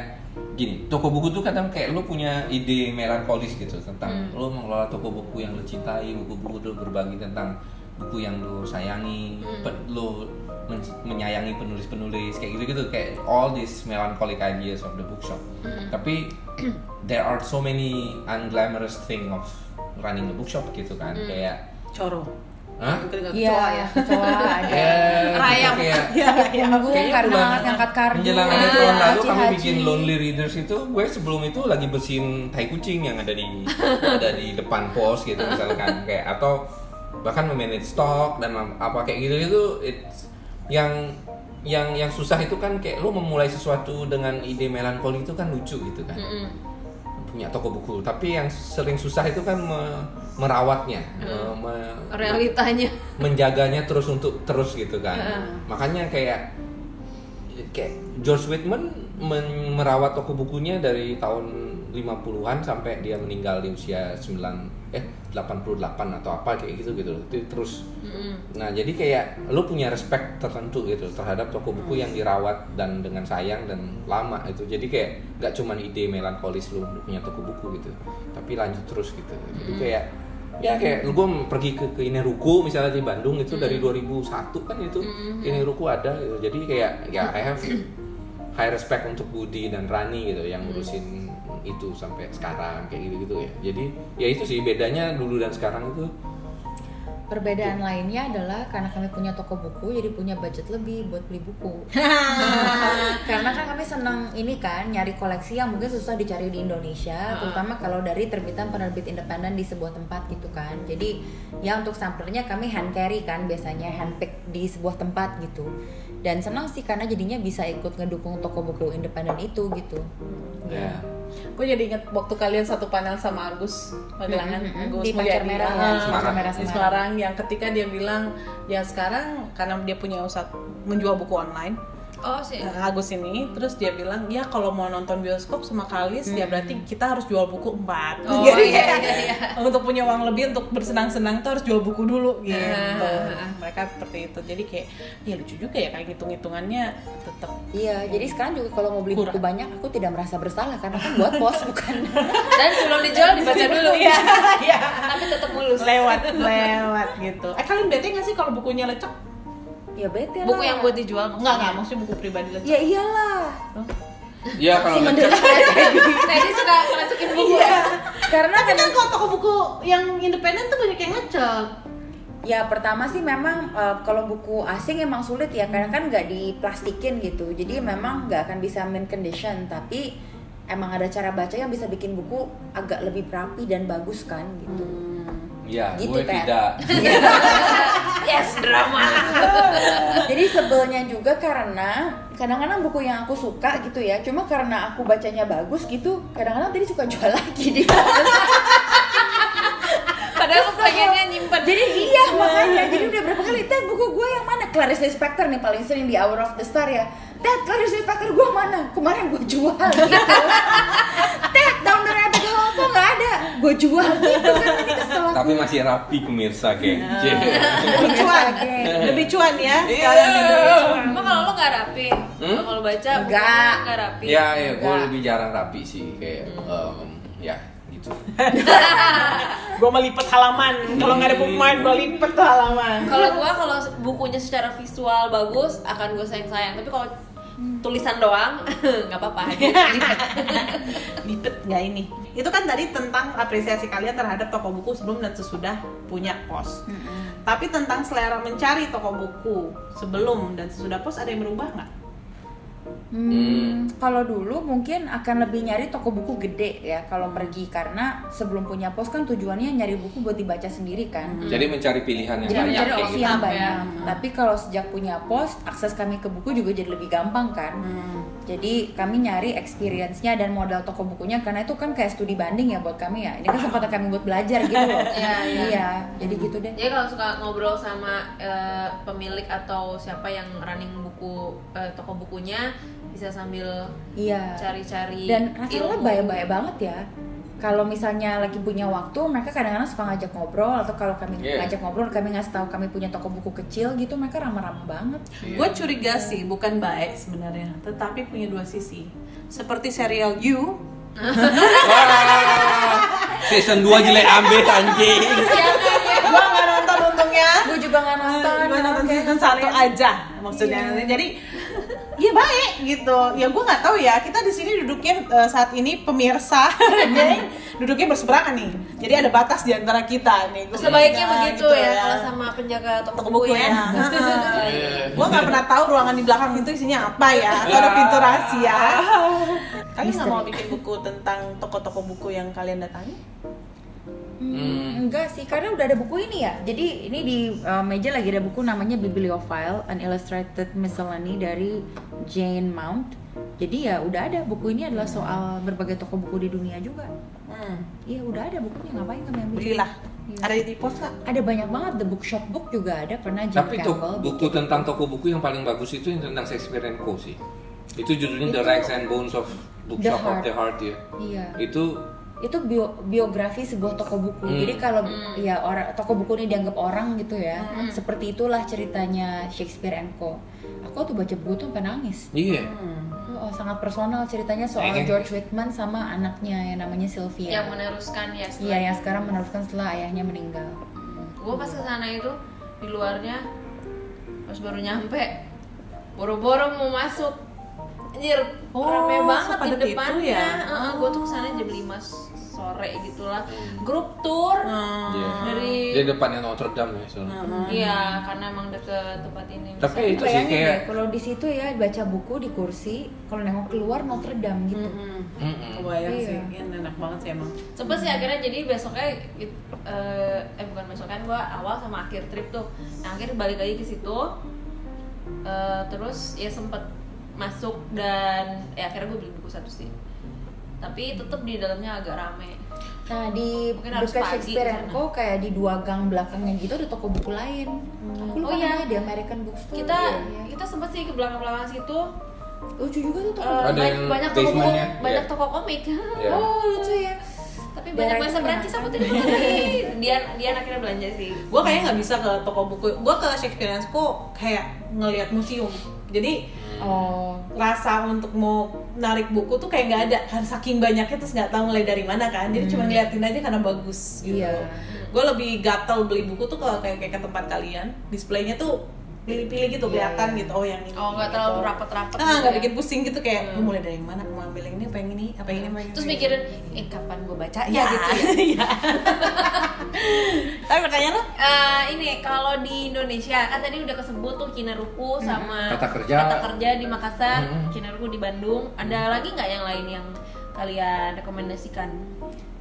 Speaker 3: gini, toko buku tuh kadang kayak lo punya ide melankolis gitu tentang lo mengelola toko buku yang lo cintai, buku-buku lo berbagi tentang buku yang lo sayangi, pe- lo men- menyayangi penulis-penulis kayak gitu-gitu kayak all these melancholic ideas of the bookshop. Tapi there are so many unglamorous thing of running a bookshop gitu kan kayak
Speaker 2: Coro.
Speaker 3: Hah?
Speaker 2: Mungkin nggak
Speaker 4: iya
Speaker 2: kecoa ya.
Speaker 3: <laughs>
Speaker 4: kecoa ada
Speaker 3: Ya,
Speaker 2: Iya.
Speaker 1: Rayap.
Speaker 3: kayak
Speaker 4: sakit
Speaker 1: iya.
Speaker 4: punggung
Speaker 3: Kayaknya
Speaker 4: karena
Speaker 3: bulan-
Speaker 4: ngangkat kardu
Speaker 3: Menjelang ada tahun lalu
Speaker 4: Haji-haji.
Speaker 3: kami bikin Lonely Readers itu, gue sebelum itu lagi bersihin tai kucing yang ada di ada di depan pos gitu misalkan kayak atau bahkan memanage stok dan apa kayak gitu gitu it's- yang yang yang susah itu kan kayak lo memulai sesuatu dengan ide melankoli itu kan lucu gitu kan punya toko buku tapi yang sering susah itu kan me- merawatnya me- me-
Speaker 1: Realitanya.
Speaker 3: menjaganya terus untuk terus gitu kan. Makanya kayak kayak George Whitman men- merawat toko bukunya dari tahun 50-an sampai dia meninggal di usia 9 eh 88 atau apa kayak gitu gitu loh. Itu terus Nah, jadi kayak lu punya respect tertentu gitu terhadap toko buku yang dirawat dan dengan sayang dan lama itu. Jadi kayak nggak cuman ide melankolis lu punya toko buku gitu, tapi lanjut terus gitu. Jadi kayak ya kayak gue pergi ke, ke ini ruko misalnya di Bandung itu dari 2001 kan itu ini ruko ada gitu. Jadi kayak ya I have high respect untuk Budi dan Rani gitu yang ngurusin itu sampai sekarang kayak gitu-gitu ya. Jadi ya itu sih bedanya dulu dan sekarang itu
Speaker 4: perbedaan lainnya adalah karena kami punya toko buku jadi punya budget lebih buat beli
Speaker 3: <laughs>
Speaker 4: buku <laughs> karena kan kami senang ini kan nyari koleksi yang mungkin susah dicari di Indonesia terutama kalau dari terbitan penerbit independen di sebuah tempat gitu kan jadi ya untuk samplernya kami hand carry kan biasanya hand pick di sebuah tempat gitu dan senang sih karena jadinya bisa ikut ngedukung toko buku independen itu gitu
Speaker 3: ya
Speaker 2: Gue jadi inget waktu kalian satu panel sama Agus Magelangan,
Speaker 1: Mm-hmm,
Speaker 4: Mm, mm, mm.
Speaker 2: Agus
Speaker 4: Di Pancar
Speaker 1: Iya,
Speaker 2: Mulyadi.
Speaker 4: Merah
Speaker 2: Ah,
Speaker 4: kan, Pancar
Speaker 2: di
Speaker 4: Merah Semarang.
Speaker 2: Semarang yang ketika dia bilang dia sekarang karena dia punya usaha menjual buku online
Speaker 1: Oh sih.
Speaker 2: Nah, Agus ini terus dia bilang ya kalau mau nonton bioskop sama Kalis ya berarti kita harus jual buku empat
Speaker 1: Mm-hmm. Oh,
Speaker 2: Jadi
Speaker 1: iya,
Speaker 2: kayak,
Speaker 1: iya, iya.
Speaker 2: untuk punya uang lebih untuk bersenang-senang tuh harus jual buku dulu gitu
Speaker 1: Ah.
Speaker 2: mereka seperti itu jadi kayak ya lucu juga ya kayak hitung-hitungannya tetap
Speaker 4: Iya, jadi sekarang juga kalau mau beli buku
Speaker 2: Kurang.
Speaker 4: banyak aku tidak merasa bersalah karena kan buat pos
Speaker 2: <laughs>
Speaker 4: bukan.
Speaker 1: Dan sebelum dijual dibaca dulu.
Speaker 2: Iya, iya.
Speaker 1: Tapi tetap mulus.
Speaker 2: lewat lewat gitu eh kalian bete nggak sih kalau bukunya lecek
Speaker 4: ya bete lah.
Speaker 1: Buku yang buat dijual maksudnya.
Speaker 2: nggak nggak maksudnya buku pribadi lecek
Speaker 4: Ya iyalah.
Speaker 3: Iya kalau
Speaker 4: Si
Speaker 3: ngecek
Speaker 4: mendelik ya, Teddy.
Speaker 1: Teddy suka masukin buku.
Speaker 4: Iya. karena
Speaker 2: Iya. tapi kan kalau toko buku yang independen tuh banyak yang lecek
Speaker 4: ya pertama sih memang eh, kalau buku asing emang sulit ya karena kan nggak diplastikin gitu. Jadi
Speaker 2: Mm-hmm.
Speaker 4: memang nggak akan bisa mint condition tapi emang ada cara baca yang bisa bikin buku agak lebih rapi dan bagus kan gitu.
Speaker 2: Hmm.
Speaker 3: Iya,
Speaker 4: Gitu,
Speaker 3: gue
Speaker 4: Pet. <laughs>
Speaker 3: tidak.
Speaker 1: Yes drama.
Speaker 4: Jadi sebelnya juga karena kadang-kadang buku yang aku suka gitu ya, cuma karena aku bacanya bagus gitu, kadang-kadang tadi suka jual lagi di
Speaker 1: Padahal aku pengennya nyimpen.
Speaker 4: Jadi iya makanya, jadi udah berapa kali, Ted buku gue yang mana? Clarice Lispector nih paling sering di Hour of the Star ya Ted, Clarice Lispector gue mana? Kemarin gue jual <laughs> gitu Ted, Down the Rabbit Hole kok gak ada? Gue jual gitu kan, jadi kesel aku
Speaker 3: Tapi masih rapi pemirsa
Speaker 4: <laughs>
Speaker 3: kayak. gitu.
Speaker 2: lebih cuan lebih cuan ya sekarang
Speaker 1: Emang kalau lo nggak rapi,
Speaker 3: Hmm?
Speaker 1: kalau baca
Speaker 4: Nggak.
Speaker 1: bukunya nggak rapi.
Speaker 3: Iya, ya, gue lebih jarang rapi sih kayak
Speaker 4: Hmm.
Speaker 3: em, ya gitu.
Speaker 2: gue melipet halaman kalau nggak ada buku main gue lipet tuh halaman
Speaker 1: Kalau gua kalau bukunya secara visual bagus akan gue sayang sayang. Tapi kalau tulisan doang <laughs> nggak
Speaker 4: <laughs>
Speaker 1: apa-apa
Speaker 2: Lipet nggak ini? Itu kan tadi tentang apresiasi kalian terhadap toko buku sebelum dan sesudah punya pos. Tapi tentang selera mencari toko buku sebelum dan sesudah pos ada yang berubah nggak?
Speaker 4: Hmm,
Speaker 3: Hmm.
Speaker 4: Kalau dulu mungkin akan lebih nyari toko buku gede ya kalau pergi karena sebelum punya pos kan tujuannya nyari buku buat dibaca sendiri kan.
Speaker 3: Jadi mencari pilihan Hmm. yang
Speaker 4: Jadi
Speaker 3: banyak.
Speaker 4: mencari
Speaker 3: kayak
Speaker 4: opsi
Speaker 3: gitu.
Speaker 4: yang
Speaker 1: ya.
Speaker 4: banyak. Tapi kalau sejak punya pos akses kami ke buku juga jadi lebih gampang kan.
Speaker 2: Hmm.
Speaker 4: Jadi kami nyari experience-nya dan modal toko bukunya karena itu kan kayak studi banding ya buat kami ya. Ini kan kesempatan kami buat belajar gitu loh.
Speaker 1: Iya, iya.
Speaker 4: Iya, jadi gitu deh.
Speaker 1: jadi kalau suka ngobrol sama eh, pemilik atau siapa yang running buku eh, toko bukunya bisa sambil
Speaker 4: Iya.
Speaker 1: cari-cari
Speaker 4: dan rasanya
Speaker 1: ilmu. <laughs>
Speaker 4: baik-baik banget ya kalau misalnya lagi punya waktu mereka kadang-kadang suka ngajak ngobrol atau kalau kami
Speaker 3: Iya.
Speaker 4: ngajak ngobrol kami ngasih tahu kami punya toko buku kecil gitu mereka ramah-ramah banget
Speaker 3: Iya.
Speaker 2: Gue curiga sih, bukan baik sebenarnya, tetapi punya dua sisi. Seperti serial You,
Speaker 3: Wah, season 2 jelek ambil
Speaker 4: <laughs>
Speaker 3: anjing.
Speaker 2: gue nggak nonton untungnya.
Speaker 4: gue juga nggak nonton
Speaker 2: gue nonton
Speaker 4: oke.
Speaker 2: season satu aja maksudnya
Speaker 1: Iya.
Speaker 2: jadi ya baik gitu ya gue nggak tahu ya kita di sini duduknya eh, saat ini pemirsa <laughs> jadi duduknya berseberangan nih jadi ada batas di antara kita nih Gua
Speaker 1: sebaiknya
Speaker 2: bilang,
Speaker 1: begitu
Speaker 2: gitu
Speaker 1: ya, kalau sama penjaga toko,
Speaker 2: Toko
Speaker 1: buku,
Speaker 2: buku
Speaker 1: ya,
Speaker 2: ya. <laughs>
Speaker 4: Oh, iya.
Speaker 2: gue nggak pernah tahu ruangan di belakang itu isinya apa ya atau ada pintu rahasia kalian nggak mau bikin buku tentang toko-toko buku yang kalian datangi
Speaker 4: Hmm, enggak sih karena udah ada buku ini ya jadi ini di uh, meja lagi ada buku namanya Bibliophile An Illustrated Miscellany dari Jane Mount jadi ya udah ada buku ini adalah soal berbagai toko buku di dunia juga
Speaker 2: hmm.
Speaker 4: iya udah ada bukunya ngapain kami ambil
Speaker 2: belilah
Speaker 4: Iya.
Speaker 2: ada di pos nggak
Speaker 4: ada banyak banget the bookshop book juga ada pernah Jane
Speaker 3: Tapi tuh
Speaker 4: Campbell
Speaker 3: buku tentang toko buku yang paling bagus itu yang tentang Shakespeare and Co sih. Itu judulnya The Rags and Bones of Bookshop
Speaker 4: The
Speaker 3: of the Heart ya.
Speaker 4: iya
Speaker 3: Itu
Speaker 4: itu bio- biografi sebuah toko buku
Speaker 3: Hmm.
Speaker 4: jadi kalau ya orang toko buku ini dianggap orang gitu ya seperti itulah ceritanya Shakespeare and Co aku tuh baca buku tuh sampai nangis
Speaker 3: iya.
Speaker 4: oh, oh, sangat personal ceritanya soal
Speaker 3: Pengen.
Speaker 4: George Whitman sama anaknya yang namanya Sylvia
Speaker 1: <laughs> yang meneruskan ya
Speaker 4: iya yang sekarang meneruskan setelah ayahnya meninggal
Speaker 1: gue pas kesana itu di luarnya pas baru nyampe boro-boro mau masuk anjir
Speaker 2: Oh,
Speaker 1: rame banget di
Speaker 2: sepadat itu
Speaker 1: depannya
Speaker 2: ya? Oh.
Speaker 1: gue tuh kesana jam 5 sore gitulah grup tour
Speaker 2: Hmm.
Speaker 3: Iya.
Speaker 4: Hmm.
Speaker 1: dari
Speaker 3: Dia depannya Notre Dame ya. soalnya.
Speaker 1: iya karena emang deket tempat ini
Speaker 3: Tapi
Speaker 1: misalnya.
Speaker 3: itu sih
Speaker 4: Bayangin
Speaker 3: kayak
Speaker 4: deh, kalau di situ ya baca buku di kursi kalau nengok keluar Notre Dame gitu
Speaker 3: Mm-mm.
Speaker 2: Kebayang
Speaker 4: Iya.
Speaker 2: sih, ini enak banget sih emang.
Speaker 1: Cepet sih akhirnya jadi besoknya it- eh, eh bukan besoknya gue awal sama akhir trip tuh. Nah, akhir balik lagi ke situ. Eh, terus ya sempet masuk dan ya akhirnya gue beli buku satu sih. Tapi tetap di dalamnya agak rame.
Speaker 2: Oh,
Speaker 4: Nah di
Speaker 1: Mungkin harus
Speaker 4: dekat
Speaker 1: pagi gitu.
Speaker 4: Shakespeare
Speaker 1: di
Speaker 4: and
Speaker 1: sana.
Speaker 4: Co kayak di dua gang belakangnya gitu ada toko buku lain. Aku lupa
Speaker 1: Oh, iya.
Speaker 4: namanya di American Bookstore.
Speaker 1: Kita
Speaker 4: Iya.
Speaker 1: kita sempet sih ke belakang-belakang situ.
Speaker 4: lucu juga tuh toko.
Speaker 1: eh,
Speaker 3: Ada
Speaker 1: ba-
Speaker 3: yang
Speaker 1: banyak toko buku,
Speaker 3: basementnya,
Speaker 1: banyak
Speaker 3: iya.
Speaker 1: toko komik. <laughs>
Speaker 3: Iya.
Speaker 1: oh lucu ya. Tapi banyak
Speaker 4: Daerah
Speaker 1: bahasa
Speaker 4: itu
Speaker 1: Perancis aku
Speaker 4: enak.
Speaker 1: tidak mengerti. Dia dia akhirnya belanja sih.
Speaker 2: Gue kayaknya nggak bisa ke toko buku. Gue ke Shakespeare and Co kayak ngelihat museum. Jadi
Speaker 4: Oh.
Speaker 2: rasa untuk mau narik buku tuh kayak nggak ada kan saking banyaknya terus nggak tahu mulai dari mana kan jadi cuma ngeliatin aja karena bagus gitu
Speaker 4: Iya.
Speaker 2: gue lebih gatel beli buku tuh kalau kayak kayak ke tempat kalian displaynya tuh pilih-pilih gitu
Speaker 4: Iya,
Speaker 2: kelihatan
Speaker 4: iya.
Speaker 2: gitu oh yang ini
Speaker 1: Oh nggak
Speaker 2: gitu.
Speaker 1: terlalu rapat-rapat.
Speaker 2: ah nggak
Speaker 1: gitu ya.
Speaker 2: bikin pusing gitu kayak gue mulai dari mana mau ambil yang ini apa yang ini apa
Speaker 4: Iya,
Speaker 2: yang ini apa yang
Speaker 1: Terus
Speaker 2: ini.
Speaker 1: mikirin, eh kapan gue baca
Speaker 2: Hmm. ya
Speaker 1: ya
Speaker 2: <laughs>
Speaker 1: gitu. ya.
Speaker 2: ya. tapi pertanyaan lo
Speaker 1: Eh, ini kalau di Indonesia kan tadi udah kesebut tuh Kinaruku
Speaker 4: Mm-hmm.
Speaker 1: sama
Speaker 3: Tata kerja.
Speaker 1: Tata kerja di Makassar,
Speaker 3: Hmm.
Speaker 1: Kinaruku di Bandung.
Speaker 4: Mm-hmm.
Speaker 1: Ada lagi nggak yang lain yang kalian rekomendasikan?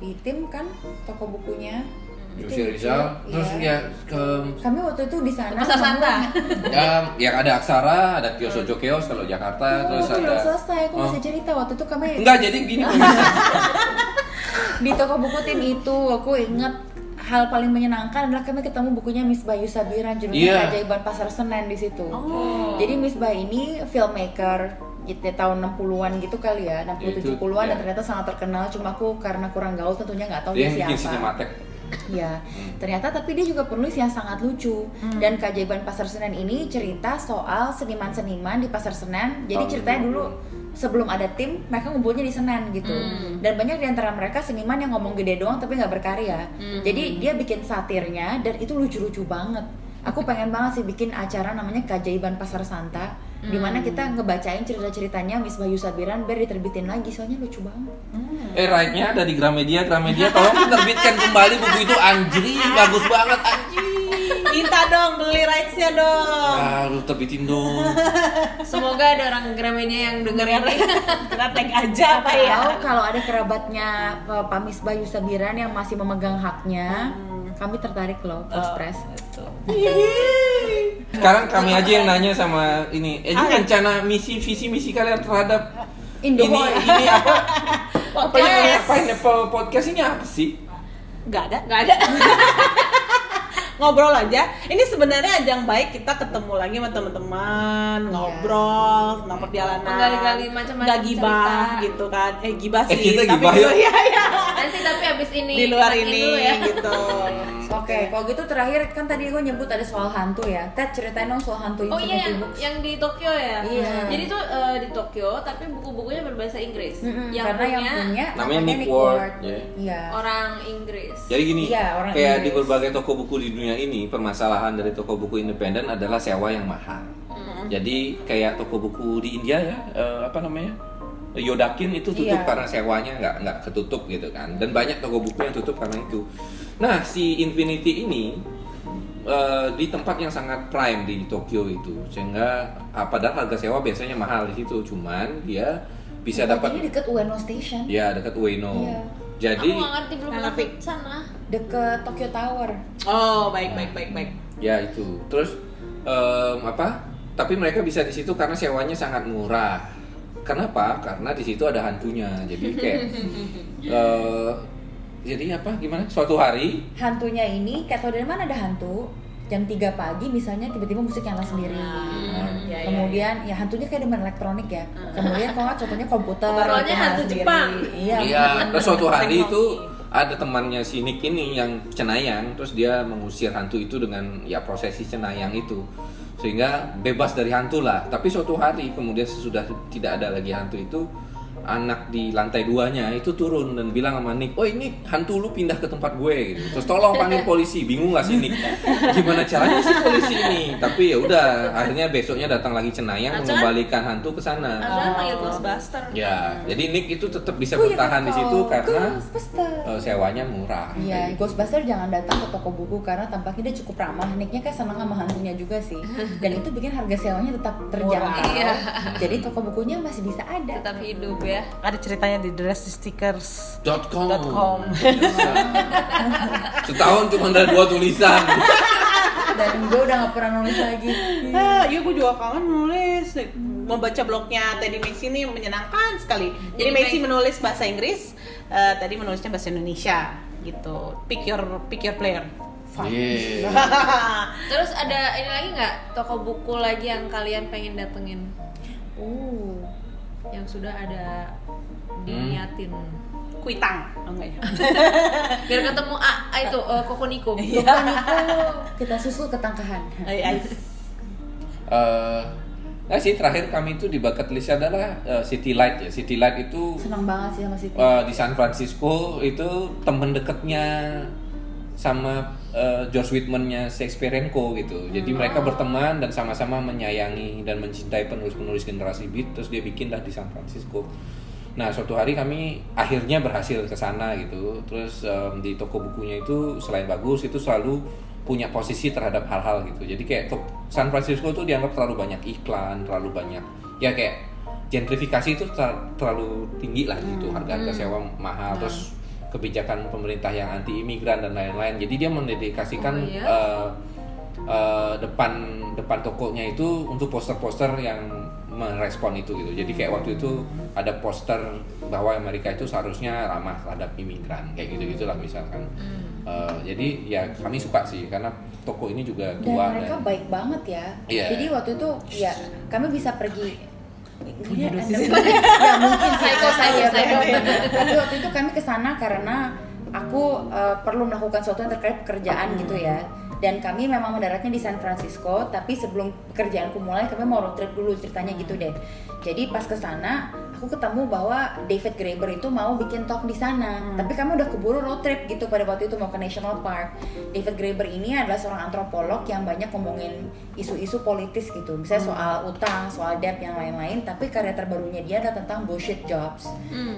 Speaker 4: Di tim kan toko bukunya.
Speaker 1: Hmm.
Speaker 3: Yosi Rizal,
Speaker 4: Iya.
Speaker 3: terus ya ke
Speaker 4: Kami waktu itu di sana.
Speaker 1: Pasar
Speaker 4: semua-
Speaker 1: Santa.
Speaker 3: ya, yang ada Aksara, ada Kios Ojo Kios kalau Jakarta,
Speaker 4: Oh,
Speaker 3: terus
Speaker 4: aku belum
Speaker 3: ada
Speaker 4: selesai, aku
Speaker 3: Oh.
Speaker 4: masih cerita waktu itu kami
Speaker 3: Enggak, jadi gini pemirsa.
Speaker 4: di toko buku tim itu aku inget hal paling menyenangkan adalah kami ketemu bukunya Miss Bayu Sabiran judulnya
Speaker 3: Iya.
Speaker 4: Keajaiban Pasar Senen di situ. Jadi Miss Bayu ini filmmaker gitu tahun 60-an gitu kali ya, 60
Speaker 3: Itu,
Speaker 4: 70-an
Speaker 3: ya.
Speaker 4: dan ternyata sangat terkenal cuma aku karena kurang gaul tentunya nggak tahu
Speaker 3: Dia
Speaker 4: dia
Speaker 3: yang bikin
Speaker 4: siapa.
Speaker 3: sinematek.
Speaker 4: <laughs> Ya, ternyata tapi dia juga penulis yang sangat lucu. Dan keajaiban Pasar Senen ini cerita soal seniman-seniman di Pasar Senen. Jadi
Speaker 3: Tahun
Speaker 4: ceritanya
Speaker 3: 50-an.
Speaker 4: dulu sebelum ada tim, mereka ngumpulnya di Senen gitu. Dan banyak di antara mereka seniman yang ngomong gede doang tapi nggak berkarya. Jadi dia bikin satirnya dan itu lucu-lucu banget. Aku pengen banget sih bikin acara namanya Keajaiban Pasar Santa dimana kita ngebacain cerita-ceritanya Miss Bayu Sabiran biar diterbitin lagi soalnya lucu banget
Speaker 3: Eh, right-nya ada di Gramedia, Gramedia tolong terbitkan kembali buku itu anjir, bagus banget anjir.
Speaker 2: Minta dong beli rights-nya dong.
Speaker 4: Nah.
Speaker 3: Harus Ah, terbitin dong.
Speaker 1: Semoga ada orang Gramedia yang dengerin
Speaker 4: Iya.
Speaker 2: Kita tag aja apa ya?
Speaker 4: Kalau kalau ada kerabatnya eh, Pak Miss Bayu Sabiran yang masih memegang haknya kami tertarik loh
Speaker 2: ya?
Speaker 4: post press
Speaker 2: Oh, gitu.
Speaker 3: Sekarang kami aja yang nanya sama ini. Eh, ini rencana misi visi misi kalian terhadap
Speaker 4: Indo
Speaker 3: ini ini apa? apa yang namanya
Speaker 2: Podcast.
Speaker 3: Pineapple Podcast ini apa sih?
Speaker 2: Gak ada, gak ada. <laughs> ngobrol aja. Ini sebenarnya ajang baik kita ketemu lagi sama teman-teman, ngobrol tentang perjalanan,
Speaker 1: Menggali-gali macam-macam
Speaker 2: Nggak gibah
Speaker 1: cerita.
Speaker 2: gitu kan. Eh gibah
Speaker 3: Eh,
Speaker 2: sih.
Speaker 3: kita
Speaker 2: tapi
Speaker 3: gibah
Speaker 2: di-
Speaker 3: yuk.
Speaker 2: Iya, iya.
Speaker 1: Nanti tapi abis ini
Speaker 2: Di luar
Speaker 1: dimatiin
Speaker 2: ini
Speaker 1: dulu ya.
Speaker 2: gitu.
Speaker 4: Oke, kalau gitu terakhir kan tadi gue nyebut ada soal hantu ya. Ted ceritain dong soal hantu
Speaker 1: Oh iya yang,
Speaker 4: Infinity Books.
Speaker 1: yang di Tokyo ya.
Speaker 4: Iya.
Speaker 1: Jadi tuh eh, di Tokyo tapi buku-bukunya berbahasa Inggris.
Speaker 4: Mm-mm,
Speaker 1: yang
Speaker 4: karena
Speaker 1: punya
Speaker 4: yang punya
Speaker 3: Namanya Nick Ward, ya.
Speaker 4: Iya.
Speaker 1: orang Inggris.
Speaker 3: Jadi gini,
Speaker 4: Iya, orang
Speaker 3: kayak
Speaker 4: Inggris.
Speaker 3: di berbagai toko buku di dunia ini, permasalahan dari toko buku independen adalah sewa yang mahal. Jadi kayak toko buku di India ya, eh, apa namanya? Yodakin itu tutup
Speaker 4: Iya.
Speaker 3: karena sewanya nggak nggak ketutup gitu kan. Dan banyak toko buku yang tutup karena itu. Nah, si Infinity ini eh, di tempat yang sangat prime di Tokyo itu, sehingga ah, padahal harga sewa biasanya mahal di situ, cuman dia bisa
Speaker 4: Ini
Speaker 3: dapat
Speaker 4: deket Ueno Station,
Speaker 3: ya dekat Ueno.
Speaker 4: Iya.
Speaker 3: Jadi
Speaker 1: Aku nggak ngerti belum
Speaker 2: Nggak
Speaker 1: pernah
Speaker 2: ngerti.
Speaker 1: ke sana.
Speaker 4: deket Tokyo Tower.
Speaker 2: Oh, baik baik baik baik.
Speaker 3: ya itu terus em, apa tapi mereka bisa di situ karena sewanya sangat murah kenapa karena di situ ada hantunya jadi kayak eh, jadi apa gimana suatu hari
Speaker 4: Hantunya ini, kayak tau dari mana ada hantu? Jam 3 pagi misalnya tiba-tiba musik nyala sendiri. Nah.
Speaker 1: Hmm.
Speaker 2: Ya, ya,
Speaker 4: Kemudian ya hantunya kayak demen elektronik ya. Kemudian kalau nggak contohnya komputer.
Speaker 1: Soalnya
Speaker 4: nyala
Speaker 1: hantu
Speaker 4: sendiri.
Speaker 1: Jepang.
Speaker 4: Iya.
Speaker 3: Iya, terus suatu hari
Speaker 2: Teknologi.
Speaker 3: itu ada temannya si Nick ini yang cenayang, terus dia mengusir hantu itu dengan ya prosesi cenayang itu, sehingga bebas dari hantu lah. Tapi suatu hari kemudian sesudah tidak ada lagi hantu itu, anak di lantai duanya itu turun dan bilang sama Nick, oh ini hantu lu pindah ke tempat gue, gitu. terus tolong panggil polisi, bingung gak sih Nick? Gimana caranya sih polisi ini? Tapi ya udah, akhirnya besoknya datang lagi cenayang
Speaker 1: Acan?
Speaker 3: mengembalikan hantu ke sana.
Speaker 1: Harusnya panggil Ghostbuster.
Speaker 3: Ya, jadi Nick itu tetap bisa
Speaker 4: Hmm. Oh, iya,
Speaker 3: bertahan di
Speaker 4: betul.
Speaker 3: situ karena
Speaker 4: Ghostbuster.
Speaker 3: Eh, sewanya murah.
Speaker 4: Iya,
Speaker 3: Kayak gitu.
Speaker 4: Ghostbuster jangan datang ke toko buku karena tampaknya dia cukup ramah. Nicknya kayak seneng sama hantunya juga sih, dan itu bikin harga sewanya tetap terjangkau.
Speaker 1: Murah. Iya.
Speaker 4: Jadi toko bukunya masih bisa ada.
Speaker 1: Tetap hidup ya.
Speaker 2: Ada ceritanya di dress stickers.
Speaker 3: Dot com.
Speaker 2: Dot com.
Speaker 3: <laughs> Setahun cuma ada dua tulisan.
Speaker 4: Dan gue udah gak pernah nulis
Speaker 1: <laughs>
Speaker 4: lagi.
Speaker 2: Ah, iya gue juga kangen nulis. Membaca blognya Teddy Maxi ini menyenangkan sekali. Jadi Maxi menulis bahasa Inggris, eh, tadi menulisnya bahasa Indonesia gitu. Pick your pick your player. <laughs>
Speaker 3: Yeah.
Speaker 1: Terus ada ini lagi nggak toko buku lagi yang kalian pengen datengin?
Speaker 4: Uh,
Speaker 1: Yang sudah ada
Speaker 3: Hmm.
Speaker 1: diniatin.
Speaker 2: Kuitang, oh, enggak
Speaker 1: <laughs>
Speaker 2: ya?
Speaker 1: Biar ketemu A, A itu eh, Kokoniko.
Speaker 4: bukan itu kita susul ke tangkahan.
Speaker 2: I- I-
Speaker 3: Eh, nah sih terakhir kami itu di bucket list adalah eh, City Light ya. City Light itu
Speaker 4: Senang banget sih sama Siti.
Speaker 3: eh, di San Francisco itu temen deketnya sama eh, George Whitman-nya Shakespeare and Co gitu. Jadi mereka berteman dan sama-sama menyayangi dan mencintai penulis-penulis generasi beat terus dia bikinlah di San Francisco. Nah, suatu hari kami akhirnya berhasil ke sana gitu. Terus em, di toko bukunya itu selain bagus itu selalu punya posisi terhadap hal-hal gitu. Jadi kayak tok- San Francisco tuh dianggap terlalu banyak iklan, terlalu banyak ya kayak gentrifikasi itu ter- terlalu tinggi lah gitu. Harga-harga sewa mahal terus kebijakan pemerintah yang anti imigran dan lain-lain. Jadi dia mendedikasikan
Speaker 1: Oh, iya?
Speaker 3: eh, eh, depan depan tokonya itu untuk poster-poster yang merespon itu gitu. Jadi kayak waktu itu ada poster bahwa Amerika itu seharusnya ramah terhadap imigran kayak gitu gitulah misalkan. Eh, jadi ya kami suka sih karena toko ini juga
Speaker 4: Dan
Speaker 3: tua
Speaker 4: mereka
Speaker 3: dan-
Speaker 4: baik banget ya.
Speaker 3: Iya.
Speaker 4: Jadi waktu itu ya kami bisa pergi.
Speaker 2: Punya
Speaker 4: Iya,
Speaker 2: dosis.
Speaker 4: Anda-
Speaker 1: <laughs>
Speaker 4: ya mungkin sih.
Speaker 1: Psycho, psycho,
Speaker 4: Iya,
Speaker 1: psycho.
Speaker 4: benar. Tapi waktu itu kami ke sana karena aku eh, perlu melakukan sesuatu yang
Speaker 1: Hmm.
Speaker 4: terkait pekerjaan gitu ya. Dan kami memang mendaratnya di San Francisco, tapi sebelum pekerjaanku mulai kami mau road trip dulu ceritanya gitu deh. Jadi pas ke sana aku aku ketemu bahwa David Graeber itu mau bikin talk di
Speaker 1: Hmm.
Speaker 4: sana. Tapi kamu udah keburu road trip gitu pada waktu itu mau ke National Park. David Graeber ini adalah seorang antropolog yang banyak ngomongin isu-isu politis gitu. Misalnya soal utang, soal debt yang lain-lain, tapi karya terbarunya dia adalah tentang bullshit jobs.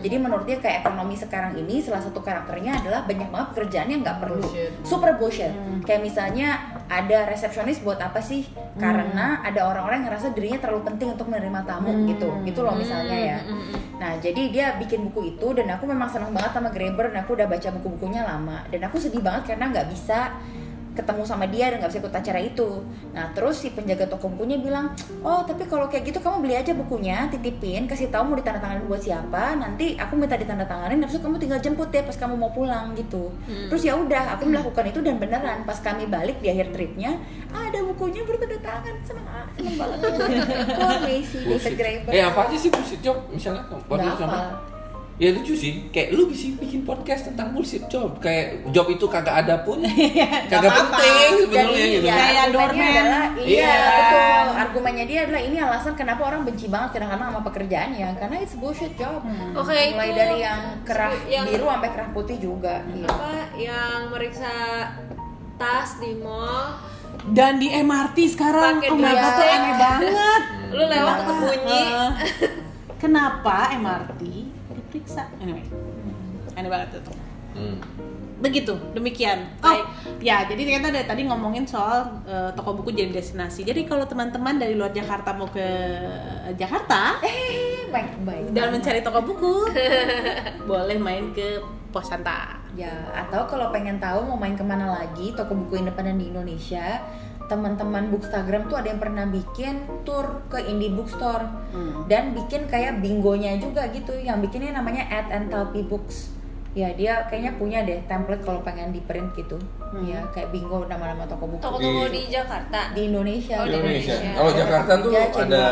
Speaker 4: Jadi menurut dia kayak ekonomi sekarang ini salah satu karakternya adalah banyak banget pekerjaan yang nggak perlu.
Speaker 2: Bullshit.
Speaker 4: Super bullshit. Kayak misalnya ada resepsionis buat apa sih? Karena ada orang-orang yang ngerasa dirinya terlalu penting untuk menerima tamu gitu. Gitu loh misalnya
Speaker 1: Hmm.
Speaker 4: ya. Nah, jadi dia bikin buku itu dan aku memang senang banget sama Graeber dan aku udah baca buku-bukunya lama dan aku sedih banget karena nggak bisa ketemu sama dia dan nggak bisa ikut acara itu. Nah, terus si penjaga toko bukunya bilang, oh tapi kalau kayak gitu kamu beli aja bukunya, titipin, kasih tahu mau ditandatanganin buat siapa, nanti aku minta ditandatanganin, habis itu kamu tinggal jemput deh pas kamu mau pulang gitu. Terus ya udah, aku melakukan itu dan beneran pas kami balik di akhir tripnya, "Ah, ada bukunya bertanda tangan, seneng ah, seneng banget. Wah, amazing, David
Speaker 3: Bullshit.
Speaker 4: Graeber.
Speaker 3: Eh apa aja sih bullshit job misalnya? buat lu
Speaker 4: Nggak
Speaker 3: sama-
Speaker 4: hafal.
Speaker 3: Ya lucu sih, kayak lu bisa bikin podcast tentang bullshit job Kayak job itu kagak ada pun, kagak
Speaker 2: apa-apa.
Speaker 3: penting sebenarnya
Speaker 4: Jadi
Speaker 3: gitu
Speaker 4: ya,
Speaker 2: Kayak
Speaker 4: argumennya
Speaker 2: doorman.
Speaker 4: adalah, iya
Speaker 3: Iya.
Speaker 4: betul. Argumennya dia adalah ini alasan kenapa orang benci banget kadang-kadang sama pekerjaannya karena it's bullshit job.
Speaker 1: Oke,
Speaker 4: Mulai
Speaker 1: itu
Speaker 4: dari yang kerah
Speaker 1: yang- Hmm.
Speaker 4: biru sampai kerah putih juga. Iya.
Speaker 1: apa yang meriksa tas di mall
Speaker 2: Dan di MRT sekarang,
Speaker 1: Pakai
Speaker 2: oh my
Speaker 1: dua
Speaker 2: god, tuh
Speaker 1: stick.
Speaker 2: aneh banget.
Speaker 3: Hmm.
Speaker 1: lu lewat
Speaker 4: Kenapa?
Speaker 1: tetap <laughs> bunyi
Speaker 2: Eh, <laughs> kenapa MRT diperiksa? Anyway, aneh banget itu.
Speaker 3: Hmm.
Speaker 2: begitu demikian oh
Speaker 1: Baik.
Speaker 2: ya jadi ternyata dari tadi ngomongin soal eh, toko buku jadi destinasi jadi kalau teman-teman dari luar Jakarta mau ke Jakarta
Speaker 4: Eh, baik baik.
Speaker 2: dan mencari toko <laughs> buku boleh main ke Posanta
Speaker 4: Ya, atau kalau pengen tahu mau main kemana lagi toko buku independen di Indonesia, teman-teman Bookstagram tuh ada yang pernah bikin tour ke indie bookstore
Speaker 2: Hmm.
Speaker 4: dan bikin kayak bingonya juga gitu. Yang bikinnya namanya Ad and Talpi Books. Ya, dia kayaknya punya deh template kalau pengen di print gitu. Ya, kayak bingo nama-nama toko buku
Speaker 1: toko-toko
Speaker 3: Di-
Speaker 1: di Jakarta
Speaker 4: di Indonesia. gitu.
Speaker 1: Oh, di
Speaker 3: Indonesia.
Speaker 1: Indonesia.
Speaker 3: Kalau Jakarta tuh
Speaker 4: Ya, C2O,
Speaker 3: ada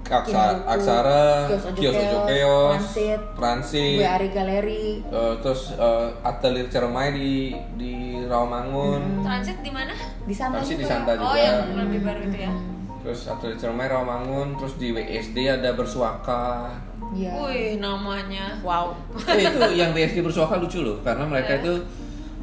Speaker 4: Kin
Speaker 3: Aksa-
Speaker 4: Buku,
Speaker 3: Aksara, Kios
Speaker 4: Kios Ojo
Speaker 3: Ojokeos,
Speaker 4: Transit,
Speaker 3: Transit,
Speaker 4: WRI Galeri.
Speaker 3: eh, terus eh, Atelier Cermai di di Rawamangun,
Speaker 1: transit di mana
Speaker 4: Di sana
Speaker 3: Transit di
Speaker 4: juga.
Speaker 3: Santa
Speaker 1: Hmm.
Speaker 3: juga.
Speaker 1: oh yang lebih baru itu ya
Speaker 3: Terus Atelier Cermai Rawamangun, terus di WSD ada Bersuaka.
Speaker 4: Iya.
Speaker 1: wih namanya
Speaker 2: wow
Speaker 3: Eh, itu yang WSD Bersuaka lucu loh, karena mereka itu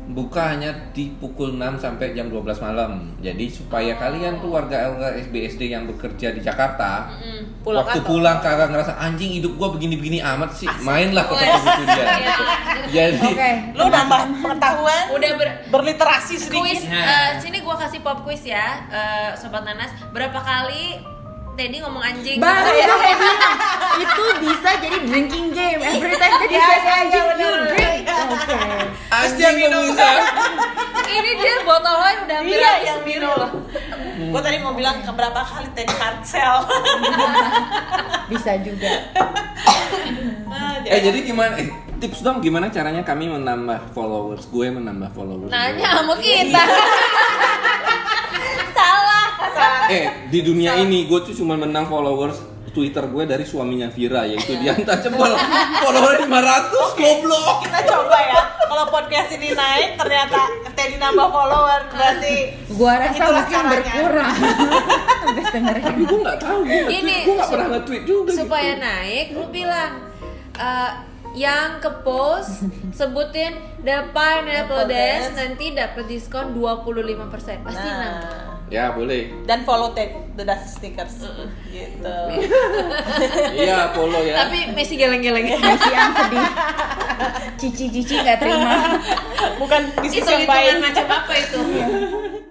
Speaker 3: buka hanya di pukul 6 sampai jam 12 malam. Jadi supaya kalian tuh warga warga SBSD yang bekerja di Jakarta
Speaker 1: Hmm,
Speaker 2: Pulang
Speaker 3: waktu
Speaker 2: kantor.
Speaker 3: pulang kagak ngerasa anjing hidup gua begini-begini amat sih. Mainlah ke toko buku
Speaker 1: <laughs>
Speaker 3: dia. gitu. Jadi
Speaker 4: Oke.
Speaker 2: lu nambah pengetahuan
Speaker 1: Iya. udah ber
Speaker 2: <laughs> berliterasi
Speaker 1: kuis
Speaker 2: sedikit
Speaker 1: eh, sini gua kasih pop quiz ya eh, sobat nanas berapa kali Teddy ngomong anjing Iya.
Speaker 4: baru gue mau bilang itu bisa jadi drinking game every time jadi
Speaker 2: Iya,
Speaker 4: saya
Speaker 2: iya,
Speaker 4: anjing
Speaker 2: iya,
Speaker 4: you
Speaker 2: bener,
Speaker 4: drink
Speaker 2: iya.
Speaker 4: oke
Speaker 3: anjing meminta.
Speaker 1: ini dia botolnya udah hampir
Speaker 2: Iya,
Speaker 1: habis
Speaker 2: yang
Speaker 1: sendiri
Speaker 2: minum.
Speaker 1: loh
Speaker 2: gue tadi mau bilang berapa kali tadi hard sell
Speaker 4: bisa juga
Speaker 2: Ah,
Speaker 3: Eh jadi gimana eh, tips dong gimana caranya kami menambah followers? Gue menambah followers.
Speaker 1: nanya
Speaker 3: gue.
Speaker 1: sama
Speaker 2: Iya. <laughs>
Speaker 1: kita salah
Speaker 3: Eh, di dunia ini gue tuh cuma menang followers Twitter gue dari suaminya Vira yaitu Dianta Jebol. Follower 500 goblok.
Speaker 2: kita coba ya kalau podcast ini naik ternyata Teddy nambah follower berarti
Speaker 4: gua rasa
Speaker 2: Itulah
Speaker 4: mungkin
Speaker 2: caranya.
Speaker 4: berkurang <laughs> habis dengerin
Speaker 3: Tapi gue nggak tahu. Gue nggak
Speaker 1: Ini,
Speaker 3: tweet- gue nggak pernah
Speaker 1: sup-
Speaker 3: nge-tweet juga.
Speaker 1: supaya
Speaker 3: gitu.
Speaker 1: naik lu bilang eh, yang ke post sebutin the pineapple
Speaker 2: Pineapple
Speaker 1: dance
Speaker 2: Dance.
Speaker 1: nanti dapat diskon 25% pasti nambah
Speaker 2: nah,
Speaker 3: Ya boleh.
Speaker 2: dan follow Ted the Dusty Sneakers gitu <laughs>
Speaker 3: Iya follow ya.
Speaker 1: tapi Messi geleng-geleng
Speaker 4: masih yang sedih cici cici nggak terima
Speaker 2: bukan
Speaker 1: itu
Speaker 2: bisnis yang
Speaker 1: hitungan
Speaker 2: baik <laughs>
Speaker 1: macam apa itu